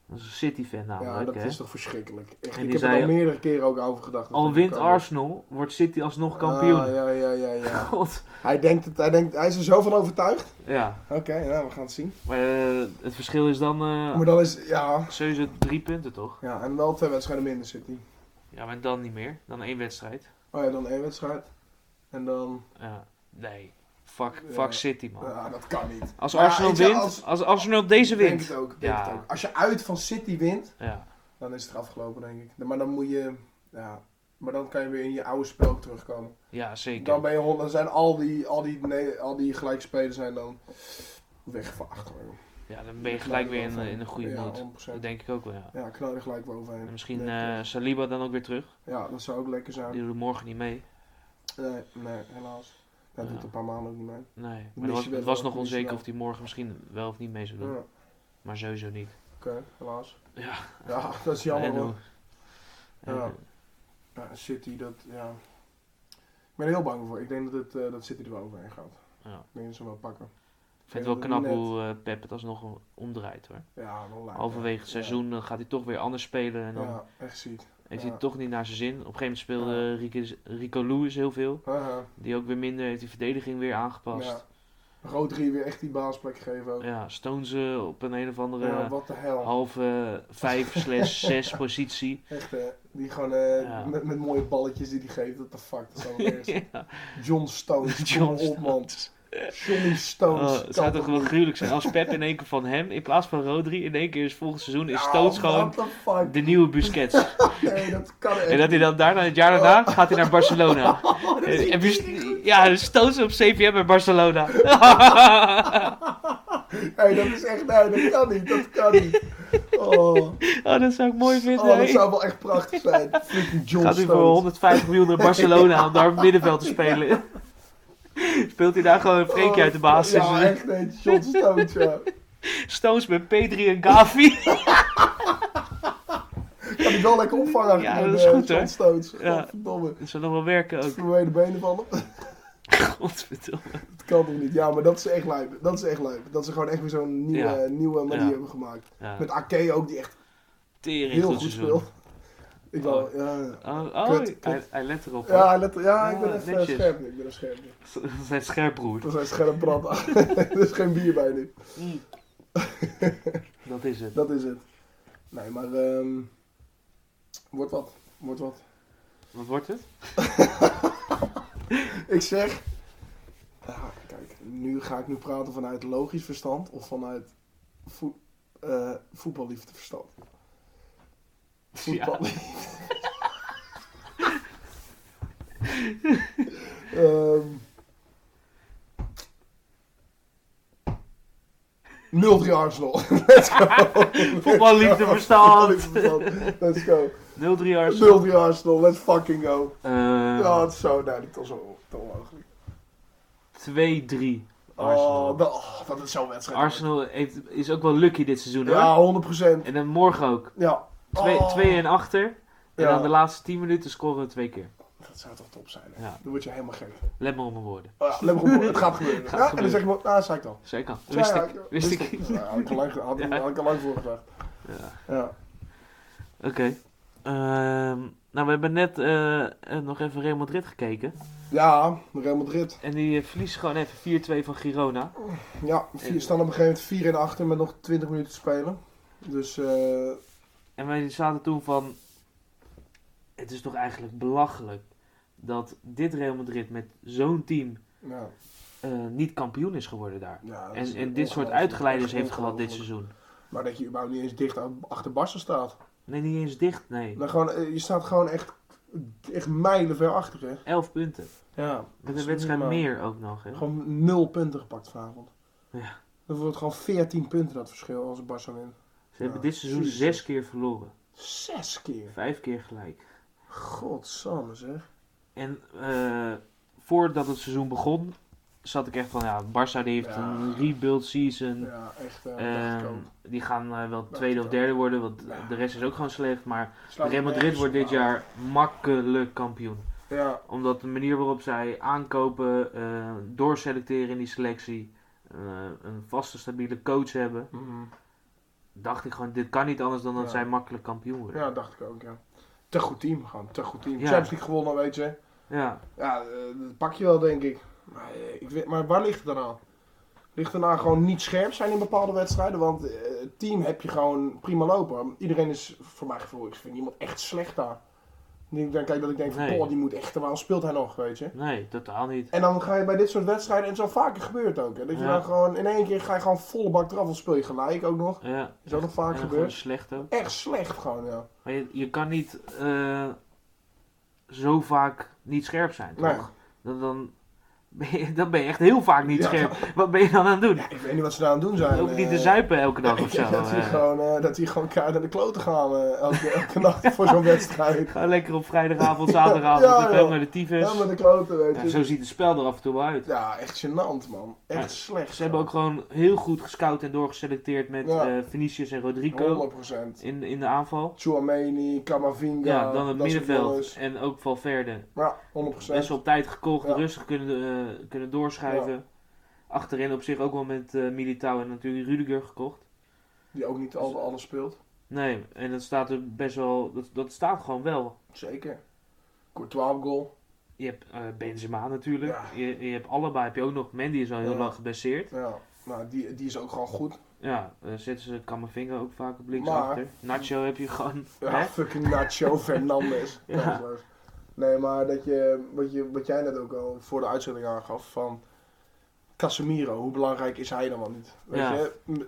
[SPEAKER 2] Dat is een City-fan namelijk.
[SPEAKER 3] ja, dat
[SPEAKER 2] hè.
[SPEAKER 3] is toch verschrikkelijk. Echt,
[SPEAKER 2] En
[SPEAKER 3] ik
[SPEAKER 2] die
[SPEAKER 3] heb
[SPEAKER 2] zei-
[SPEAKER 3] er al meerdere keren ook over gedacht. Dat
[SPEAKER 2] Al
[SPEAKER 3] dat
[SPEAKER 2] wint
[SPEAKER 3] kan.
[SPEAKER 2] Arsenal, wordt City alsnog kampioen.
[SPEAKER 3] Ah, ja, ja, ja, ja.
[SPEAKER 2] God.
[SPEAKER 3] hij, denkt het, hij, denkt, hij is er zo van overtuigd.
[SPEAKER 2] Ja,
[SPEAKER 3] Oké, nou, we gaan het zien.
[SPEAKER 2] maar eh, het verschil is dan eh
[SPEAKER 3] Maar dan is, ja...
[SPEAKER 2] sowieso drie punten, toch?
[SPEAKER 3] Ja, en wel twee wedstrijden minder City.
[SPEAKER 2] Ja, maar dan niet meer. Dan één wedstrijd.
[SPEAKER 3] Oh ja, dan één wedstrijd. En dan...
[SPEAKER 2] Ja, nee. Fuck,
[SPEAKER 3] Ja.
[SPEAKER 2] fuck City, man.
[SPEAKER 3] Ja, dat kan niet.
[SPEAKER 2] Als
[SPEAKER 3] Maar ja,
[SPEAKER 2] Arsenal
[SPEAKER 3] ik zou-
[SPEAKER 2] wint, als,
[SPEAKER 3] als-
[SPEAKER 2] Arsenal Oh. deze
[SPEAKER 3] Denk
[SPEAKER 2] wint.
[SPEAKER 3] het ook, denk
[SPEAKER 2] Ja.
[SPEAKER 3] het ook. Als je uit van City wint,
[SPEAKER 2] Ja,
[SPEAKER 3] dan is het er afgelopen, denk ik. Maar dan moet je... Ja, maar dan kan je weer in je oude spel terugkomen.
[SPEAKER 2] ja zeker.
[SPEAKER 3] Dan, ben je, hond- dan zijn al die, al die, nee, al die gelijkspelen zijn dan weggevaagd. hoor.
[SPEAKER 2] ja, dan ben je gelijk weer in, in een goede
[SPEAKER 3] ja,
[SPEAKER 2] mood.
[SPEAKER 3] 100%.
[SPEAKER 2] Dat denk ik ook wel, ja.
[SPEAKER 3] Ja, knal er gelijk weer overheen.
[SPEAKER 2] En misschien
[SPEAKER 3] Nee,
[SPEAKER 2] eh, Saliba dan ook weer terug.
[SPEAKER 3] Ja, dat zou ook lekker zijn.
[SPEAKER 2] Die doet morgen niet mee.
[SPEAKER 3] Nee, nee helaas. Dat
[SPEAKER 2] Ja.
[SPEAKER 3] doet een paar maanden ook niet mee.
[SPEAKER 2] Nee, maar er
[SPEAKER 3] mis je
[SPEAKER 2] was,
[SPEAKER 3] wel,
[SPEAKER 2] het was
[SPEAKER 3] dat
[SPEAKER 2] nog
[SPEAKER 3] mis je
[SPEAKER 2] onzeker
[SPEAKER 3] wel.
[SPEAKER 2] of hij morgen misschien wel of niet mee zou
[SPEAKER 3] Ja,
[SPEAKER 2] doen.
[SPEAKER 3] Oké,
[SPEAKER 2] Maar sowieso niet.
[SPEAKER 3] helaas.
[SPEAKER 2] Ja,
[SPEAKER 3] Ja, *laughs* dat is jammer
[SPEAKER 2] En
[SPEAKER 3] hoor.
[SPEAKER 2] hoe- en,
[SPEAKER 3] Ja.
[SPEAKER 2] eh,
[SPEAKER 3] Ja, City, dat, ja. Ik ben er heel bang voor. Ik denk dat, het, eh, dat City er wel overheen gaat.
[SPEAKER 2] Ja.
[SPEAKER 3] Ik denk dat ze hem wel pakken.
[SPEAKER 2] Ik vind het
[SPEAKER 3] Ja,
[SPEAKER 2] wel knap
[SPEAKER 3] net.
[SPEAKER 2] hoe eh, Pep het alsnog omdraait hoor.
[SPEAKER 3] Ja, wel lijkt
[SPEAKER 2] Halverwege het
[SPEAKER 3] ja.
[SPEAKER 2] seizoen dan gaat hij toch weer anders spelen. En
[SPEAKER 3] Ja,
[SPEAKER 2] dan,
[SPEAKER 3] *laughs* echt ziet.
[SPEAKER 2] Heeft
[SPEAKER 3] Ja.
[SPEAKER 2] hij toch niet naar zijn zin. Op een gegeven moment speelde Rico, Rico Lewis heel veel.
[SPEAKER 3] Haha.
[SPEAKER 2] Die ook weer minder heeft die verdediging weer aangepast.
[SPEAKER 3] Ja. Rodri weer echt die baasplek geven ook.
[SPEAKER 2] Ja, Stones eh, op een een of andere
[SPEAKER 3] Ja, wat de hel.
[SPEAKER 2] halve
[SPEAKER 3] *laughs*
[SPEAKER 2] 5 slash 6 positie.
[SPEAKER 3] Echt, hè? Die gewoon eh,
[SPEAKER 2] Ja.
[SPEAKER 3] met, met mooie balletjes die die geeft. What the fuck? Dat is allemaal
[SPEAKER 2] *laughs*
[SPEAKER 3] eerst.
[SPEAKER 2] Ja.
[SPEAKER 3] John
[SPEAKER 2] *laughs*
[SPEAKER 3] Stones.
[SPEAKER 2] John
[SPEAKER 3] John op, man. Johnny Stones.
[SPEAKER 2] Oh, het zou toch wel gruwelijk zijn als Pep in één keer van hem, in plaats van Rodri, in één keer is volgend seizoen is Stones gewoon
[SPEAKER 3] Ah, What the fuck?
[SPEAKER 2] de nieuwe
[SPEAKER 3] *laughs*
[SPEAKER 2] Busquets. *laughs*
[SPEAKER 3] Nee, dat kan echt.
[SPEAKER 2] En dat hij dan daarna, het jaar daarna,
[SPEAKER 3] Oh.
[SPEAKER 2] gaat hij naar
[SPEAKER 3] *laughs*
[SPEAKER 2] Barcelona. En Bus- ja, dus Stones op CVM bij Barcelona. *laughs*
[SPEAKER 3] Hey, dat is echt, nee, dat kan niet, dat kan niet.
[SPEAKER 2] *laughs*
[SPEAKER 3] Oh,
[SPEAKER 2] Oh, dat zou ik mooi vinden.
[SPEAKER 3] oh dat
[SPEAKER 2] hè.
[SPEAKER 3] zou wel echt prachtig zijn.
[SPEAKER 2] *laughs*
[SPEAKER 3] Freaking John
[SPEAKER 2] Gaat hij voor
[SPEAKER 3] Stones.
[SPEAKER 2] 150 miljoen naar Barcelona om daar op het middenveld te spelen? *laughs* Speelt hij daar gewoon een Freekje uit de basis?
[SPEAKER 3] Ja, echt, nee, John Stones, ja.
[SPEAKER 2] *laughs* Stones met Pedri en Gavi.
[SPEAKER 3] *laughs* Kan ik wel lekker opvangen
[SPEAKER 2] Ja,
[SPEAKER 3] met,
[SPEAKER 2] dat is
[SPEAKER 3] eh,
[SPEAKER 2] goed,
[SPEAKER 3] John
[SPEAKER 2] hè?
[SPEAKER 3] Stones.
[SPEAKER 2] Ja.
[SPEAKER 3] Godverdomme.
[SPEAKER 2] Dat zou nog wel werken ook.
[SPEAKER 3] Voor mij de benen vallen.
[SPEAKER 2] Godverdomme.
[SPEAKER 3] Dat kan toch niet? Ja, maar dat is echt lijp. Dat is echt lijp. Dat ze gewoon echt weer zo'n nieuwe,
[SPEAKER 2] Ja.
[SPEAKER 3] nieuwe manier
[SPEAKER 2] Ja.
[SPEAKER 3] hebben gemaakt.
[SPEAKER 2] Ja,
[SPEAKER 3] Met Ake ook, die echt
[SPEAKER 2] tering
[SPEAKER 3] heel
[SPEAKER 2] goed
[SPEAKER 3] goed
[SPEAKER 2] seizoen.
[SPEAKER 3] speelt. Ik wou,
[SPEAKER 2] eh, Oh.
[SPEAKER 3] ja, ja.
[SPEAKER 2] Oh, oh,
[SPEAKER 3] Kut, kut.
[SPEAKER 2] Hij, hij let erop. hoor.
[SPEAKER 3] Ja, let, ja, ik ben
[SPEAKER 2] Ah,
[SPEAKER 3] even
[SPEAKER 2] netjes.
[SPEAKER 3] scherp. nu, Ik ben even scherp. nu.
[SPEAKER 2] Dat is *laughs* zijn scherpbroer.
[SPEAKER 3] Dat zijn scherp brand. *laughs* er is geen bier bij nu.
[SPEAKER 2] Dat is het.
[SPEAKER 3] Dat is het. Nee, maar ehm wordt wat. Wordt wat.
[SPEAKER 2] Wat wordt
[SPEAKER 3] *laughs*
[SPEAKER 2] het?
[SPEAKER 3] Ik zeg. Ja, kijk, nu ga ik nu praten vanuit logisch verstand of vanuit voet, eh voetballiefde verstand. Voetbal. *laughs* Ehm 0-3 Arsenal. Let's go.
[SPEAKER 2] Voetballiefde
[SPEAKER 3] *laughs*
[SPEAKER 2] verstand.
[SPEAKER 3] Voetballiefdeverstand. Let's go.
[SPEAKER 2] 0-3 Arsenal.
[SPEAKER 3] 0-3 Arsenal. Let's fucking go. Ja,
[SPEAKER 2] Eh,
[SPEAKER 3] het is zo duidelijk. Dat is zo te onmogelijk.
[SPEAKER 2] 2-3. Arsenal.
[SPEAKER 3] Oh, dat, oh, dat is zo'n wedstrijd.
[SPEAKER 2] Arsenal heeft, is ook wel lucky dit seizoen hoor.
[SPEAKER 3] Ja, 100%.
[SPEAKER 2] En dan morgen ook.
[SPEAKER 3] Ja.
[SPEAKER 2] 2
[SPEAKER 3] Oh.
[SPEAKER 2] en achter. En
[SPEAKER 3] Ja.
[SPEAKER 2] dan de laatste 10 minuten scoren we twee keer.
[SPEAKER 3] Dat zou toch top zijn, hè?
[SPEAKER 2] Ja.
[SPEAKER 3] Dan word je helemaal gek.
[SPEAKER 2] Let maar op mijn woorden.
[SPEAKER 3] Oh, ja, let maar op, het gaat gebeuren.
[SPEAKER 2] *laughs* Gaat
[SPEAKER 3] ja, En dan
[SPEAKER 2] gebeuren.
[SPEAKER 3] zeg je, maar, nou, zei ik al.
[SPEAKER 2] Zeker.
[SPEAKER 3] Zei
[SPEAKER 2] Wist
[SPEAKER 3] hij,
[SPEAKER 2] ik. Wist ik.
[SPEAKER 3] *laughs* Ja, had ik al lang, had, ik- had ik al lang voor gezegd.
[SPEAKER 2] *laughs* Ja.
[SPEAKER 3] Ja.
[SPEAKER 2] Oké. Ehm, nou, we hebben net eh, eh, nog even Real Madrid gekeken.
[SPEAKER 3] ja, Real Madrid.
[SPEAKER 2] En die eh, verliest gewoon even 4-2 van Girona.
[SPEAKER 3] Ja,
[SPEAKER 2] En-
[SPEAKER 3] vier, staan op een gegeven moment 4 en achter met nog 20 minuten te spelen. Dus, eh
[SPEAKER 2] En wij zaten toen van... Het is toch eigenlijk belachelijk dat dit Real Madrid met zo'n team
[SPEAKER 3] ja.
[SPEAKER 2] eh, niet kampioen is geworden daar.
[SPEAKER 3] ja dat is
[SPEAKER 2] En, en dit soort
[SPEAKER 3] ongelooflijk.
[SPEAKER 2] uitgeleiders
[SPEAKER 3] Dat is
[SPEAKER 2] heeft gehad dit
[SPEAKER 3] ongelooflijk.
[SPEAKER 2] seizoen.
[SPEAKER 3] Maar dat je überhaupt niet eens dicht aan- achter Barca staat.
[SPEAKER 2] Nee, niet eens dicht, nee.
[SPEAKER 3] Dan gewoon, eh, je staat gewoon echt, echt mijlenver achter, hè.
[SPEAKER 2] 11 punten.
[SPEAKER 3] Ja. dat
[SPEAKER 2] Met
[SPEAKER 3] is
[SPEAKER 2] een wedstrijd
[SPEAKER 3] niet normaal.
[SPEAKER 2] meer ook nog. Hè?
[SPEAKER 3] Gewoon nul punten gepakt vanavond.
[SPEAKER 2] Ja.
[SPEAKER 3] Dan wordt gewoon 14 punten dat verschil als Barca wint.
[SPEAKER 2] Ze hebben
[SPEAKER 3] Ja,
[SPEAKER 2] dit seizoen
[SPEAKER 3] jezus.
[SPEAKER 2] zes keer verloren.
[SPEAKER 3] Zes keer.
[SPEAKER 2] Vijf keer gelijk.
[SPEAKER 3] Godsamme zeg.
[SPEAKER 2] En eh, voordat het seizoen begon, zat ik echt van, ja, Barça die heeft
[SPEAKER 3] Ja.
[SPEAKER 2] een rebuild season.
[SPEAKER 3] Ja, echt. eh
[SPEAKER 2] Hm. Ehm,
[SPEAKER 3] dacht ik ook.
[SPEAKER 2] die gaan eh, wel
[SPEAKER 3] ik
[SPEAKER 2] tweede of
[SPEAKER 3] ook.
[SPEAKER 2] derde worden, want
[SPEAKER 3] Ja.
[SPEAKER 2] de rest is ook gewoon slecht. Maar
[SPEAKER 3] Slaat
[SPEAKER 2] Real Madrid
[SPEAKER 3] nergens
[SPEAKER 2] wordt
[SPEAKER 3] op
[SPEAKER 2] dit
[SPEAKER 3] aan.
[SPEAKER 2] jaar makkelijk kampioen.
[SPEAKER 3] Ja,
[SPEAKER 2] Omdat de manier waarop zij aankopen, eh, doorselecteren in die selectie, eh, een vaste stabiele coach hebben, dacht ik gewoon, dit kan niet anders dan dat
[SPEAKER 3] Ja.
[SPEAKER 2] zij makkelijk kampioen worden.
[SPEAKER 3] ja, dacht ik ook, ja. Te goed team, gewoon. Te goed team.
[SPEAKER 2] Ja.
[SPEAKER 3] Champions League gewonnen, weet je.
[SPEAKER 2] ja.
[SPEAKER 3] Ja, eh, dat pak je wel, denk ik. Maar, eh, ik weet, maar waar ligt het dan aan? Ligt het dan aan gewoon niet scherp zijn in bepaalde wedstrijden? Want eh, het team heb je gewoon prima lopen. Iedereen is, voor mijn gevoel, ik vind niemand echt slecht daar. Ik denk, kijk, dat ik denk van,
[SPEAKER 2] Nee.
[SPEAKER 3] Paul, die moet echt, waarom speelt hij nog, weet je?
[SPEAKER 2] Nee, totaal niet.
[SPEAKER 3] En dan ga je bij dit soort wedstrijden, en zo vaker gebeurt het ook, hè, dat je
[SPEAKER 2] Ja.
[SPEAKER 3] dan gewoon in één keer ga je gewoon volle bak eraf, of speel je gelijk ook nog.
[SPEAKER 2] Ja,
[SPEAKER 3] Is ook nog
[SPEAKER 2] en
[SPEAKER 3] vaak
[SPEAKER 2] dan gewoon
[SPEAKER 3] gebeurd.
[SPEAKER 2] slecht ook.
[SPEAKER 3] Echt slecht gewoon, ja.
[SPEAKER 2] Maar je, je kan niet eh, zo vaak niet scherp zijn, toch? Dan,
[SPEAKER 3] Nee.
[SPEAKER 2] dan, ben je, dan ben je echt heel vaak niet
[SPEAKER 3] Ja.
[SPEAKER 2] scherp. Wat ben je dan aan het doen?
[SPEAKER 3] Ik weet niet wat ze daar aan het doen zijn.
[SPEAKER 2] Ook niet te
[SPEAKER 3] eh.
[SPEAKER 2] zuipen elke
[SPEAKER 3] *laughs*
[SPEAKER 2] dag of zo.
[SPEAKER 3] dat, die
[SPEAKER 2] eh.
[SPEAKER 3] gewoon, eh, dat die gewoon keihard aan de kloten gaan eh, elke, elke nacht voor zo'n
[SPEAKER 2] *laughs*
[SPEAKER 3] wedstrijd.
[SPEAKER 2] Ga lekker op vrijdagavond, zaterdagavond,
[SPEAKER 3] Ja,
[SPEAKER 2] ja,
[SPEAKER 3] joh.
[SPEAKER 2] naar de tyfus.
[SPEAKER 3] Ja, met de kloten,
[SPEAKER 2] dus- Ja,
[SPEAKER 3] weet
[SPEAKER 2] zo
[SPEAKER 3] je.
[SPEAKER 2] ziet het spel er af en toe wel uit.
[SPEAKER 3] Ja, echt gênant, man.
[SPEAKER 2] Ja,
[SPEAKER 3] Echt slecht.
[SPEAKER 2] Ze hebben ook gewoon heel goed gescout en doorgeselecteerd met
[SPEAKER 3] Ja.
[SPEAKER 2] eh, Vinicius en Rodrigo
[SPEAKER 3] gewoon... 100%.
[SPEAKER 2] in, in de aanval.
[SPEAKER 3] Chouameni, Kamavinga,
[SPEAKER 2] Ja, dan het
[SPEAKER 3] dat soort
[SPEAKER 2] middenveld
[SPEAKER 3] jongens.
[SPEAKER 2] en ook Valverde.
[SPEAKER 3] Ja, 100%.
[SPEAKER 2] Best wel op tijd gekocht,
[SPEAKER 3] Ja.
[SPEAKER 2] rustig kunnen, eh, kunnen doorschuiven. Achterin op zich ook wel met eh Militao en natuurlijk Rudiger gekocht.
[SPEAKER 3] Die ook niet altijd alles speelt.
[SPEAKER 2] Nee, en dat staat er best wel. Dat, dat staat gewoon wel.
[SPEAKER 3] Zeker. Courtois op goal.
[SPEAKER 2] Je hebt eh, Benzema natuurlijk.
[SPEAKER 3] Ja.
[SPEAKER 2] Je, je hebt allebei. Heb je ook nog. Mandy is al heel
[SPEAKER 3] Ja.
[SPEAKER 2] lang gebaseerd.
[SPEAKER 3] Ja, nou, die, die is ook gewoon goed.
[SPEAKER 2] Ja, eh, zetten ze Camavinga ook vaak op links
[SPEAKER 3] Maar-
[SPEAKER 2] achter. Nacho heb je gewoon.
[SPEAKER 3] Ja,
[SPEAKER 2] hè?
[SPEAKER 3] fucking
[SPEAKER 2] *laughs*
[SPEAKER 3] Nacho Fernandes.
[SPEAKER 2] Ja.
[SPEAKER 3] Dat is waar. Nee, maar dat je, wat, je, wat jij net ook al voor de uitzending aangaf van Casemiro, hoe belangrijk is hij dan wel niet? Weet
[SPEAKER 2] Ja.
[SPEAKER 3] je, m-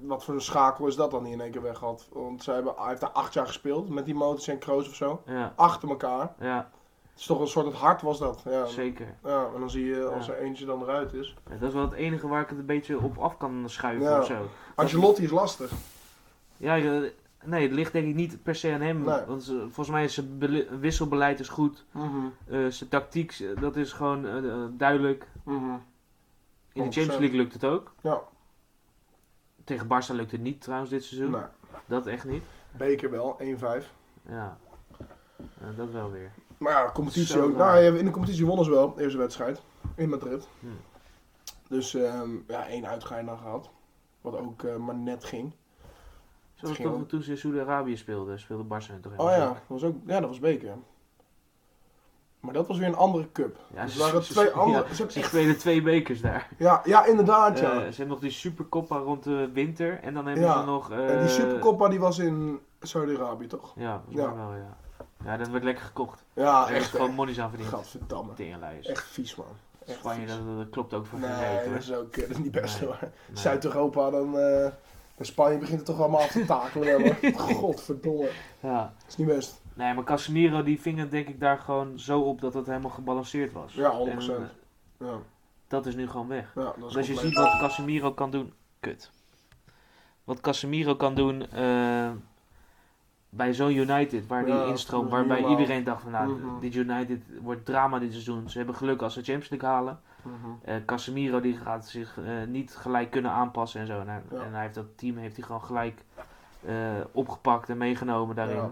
[SPEAKER 3] wat voor een schakel is dat dan die in één keer weg had? Want zij hebben, hij heeft daar acht jaar gespeeld met die motors en Kroos of zo.
[SPEAKER 2] Ja,
[SPEAKER 3] Achter elkaar.
[SPEAKER 2] ja,
[SPEAKER 3] Het is toch een soort het hart was dat. Ja.
[SPEAKER 2] zeker.
[SPEAKER 3] ja, en dan zie je als
[SPEAKER 2] Ja.
[SPEAKER 3] er eentje dan eruit is.
[SPEAKER 2] Ja, dat is wel het enige waar ik het een beetje op af kan schuiven
[SPEAKER 3] Ja.
[SPEAKER 2] of zo.
[SPEAKER 3] Ancelotti is lastig.
[SPEAKER 2] Ja, ik- eh, nee, het ligt denk ik niet per se aan hem.
[SPEAKER 3] Nee.
[SPEAKER 2] Want ze- volgens mij is zijn bele- wisselbeleid is goed. Eh, zijn tactiek, eh, dat is gewoon eh, eh, duidelijk. In de
[SPEAKER 3] 100%.
[SPEAKER 2] Champions League lukt het ook.
[SPEAKER 3] Ja.
[SPEAKER 2] Tegen Barca lukt het niet trouwens dit seizoen.
[SPEAKER 3] Nou,
[SPEAKER 2] Dat echt niet.
[SPEAKER 3] Beker wel, 1-5.
[SPEAKER 2] Ja. Ja, dat wel weer.
[SPEAKER 3] Maar ja, competitie
[SPEAKER 2] Zo
[SPEAKER 3] ook.
[SPEAKER 2] raar.
[SPEAKER 3] Nou, ja, in de competitie wonnen ze wel, de eerste wedstrijd. In Madrid.
[SPEAKER 2] Hm.
[SPEAKER 3] Dus ehm, ja, één uitgaande dan gehad. Wat ook eh, maar net ging.
[SPEAKER 2] Zoals
[SPEAKER 3] ging
[SPEAKER 2] toch
[SPEAKER 3] ook-
[SPEAKER 2] toen ze in Saudi-Arabië speelden, speelde Barca toch
[SPEAKER 3] Oh
[SPEAKER 2] helemaal
[SPEAKER 3] ja,
[SPEAKER 2] niet.
[SPEAKER 3] dat was ook, ja, dat was Beker. Maar dat was weer een andere cup.
[SPEAKER 2] Ja,
[SPEAKER 3] dus
[SPEAKER 2] ze-
[SPEAKER 3] waren
[SPEAKER 2] ze-
[SPEAKER 3] twee
[SPEAKER 2] ze-
[SPEAKER 3] andere.
[SPEAKER 2] *laughs* ja,
[SPEAKER 3] Ja,
[SPEAKER 2] Ze spelen twee bekers daar.
[SPEAKER 3] ja, ja, inderdaad, ja.
[SPEAKER 2] Eh, ze hebben nog die Supercoppa rond de winter. En dan hebben
[SPEAKER 3] Ja.
[SPEAKER 2] ze nog... eh,
[SPEAKER 3] en die Supercoppa die was in Saudi-Arabië, toch?
[SPEAKER 2] Ja, volgens
[SPEAKER 3] Ja.
[SPEAKER 2] mij wel, ja. Ja, dat wordt lekker gekocht.
[SPEAKER 3] Ja,
[SPEAKER 2] Daar is
[SPEAKER 3] echt.
[SPEAKER 2] gewoon
[SPEAKER 3] Gewoon...
[SPEAKER 2] monies aan verdiend.
[SPEAKER 3] Gadverdamme.
[SPEAKER 2] Teringlijst.
[SPEAKER 3] Echt vies, man. Echt
[SPEAKER 2] Spanje,
[SPEAKER 3] vies.
[SPEAKER 2] dat, dat klopt ook voor geen reet,
[SPEAKER 3] Nee,
[SPEAKER 2] hoor.
[SPEAKER 3] dat is ook eh, dat is niet best
[SPEAKER 2] Nee.
[SPEAKER 3] hoor.
[SPEAKER 2] Nee.
[SPEAKER 3] Zuid-Europa, dan. eh, bij Spanje begint het toch allemaal af te takelen. wel,
[SPEAKER 2] *laughs*
[SPEAKER 3] hoor. Godverdomme.
[SPEAKER 2] Ja.
[SPEAKER 3] Dat is niet best.
[SPEAKER 2] Nee, maar Casemiro die ving het denk ik daar gewoon zo op dat het helemaal gebalanceerd was.
[SPEAKER 3] Ja,
[SPEAKER 2] En,
[SPEAKER 3] 100%.
[SPEAKER 2] eh,
[SPEAKER 3] Ja,
[SPEAKER 2] dat is nu gewoon weg.
[SPEAKER 3] ja, dat is
[SPEAKER 2] Dus als je
[SPEAKER 3] compleet.
[SPEAKER 2] ziet wat Casemiro kan doen. Kut. Wat Casemiro kan doen eh, bij zo'n United, waar
[SPEAKER 3] Ja,
[SPEAKER 2] die
[SPEAKER 3] dat
[SPEAKER 2] instroomt,
[SPEAKER 3] is niet
[SPEAKER 2] waarbij
[SPEAKER 3] normaal.
[SPEAKER 2] iedereen dacht van nou,
[SPEAKER 3] Mhm.
[SPEAKER 2] dit United wordt drama dit seizoen. Ze hebben geluk als ze Champions League halen.
[SPEAKER 3] Mhm.
[SPEAKER 2] Eh, Casemiro die gaat zich eh, niet gelijk kunnen aanpassen en zo. En, hij-
[SPEAKER 3] Ja.
[SPEAKER 2] en hij heeft dat team heeft hij gewoon gelijk eh, opgepakt en meegenomen daarin.
[SPEAKER 3] Ja.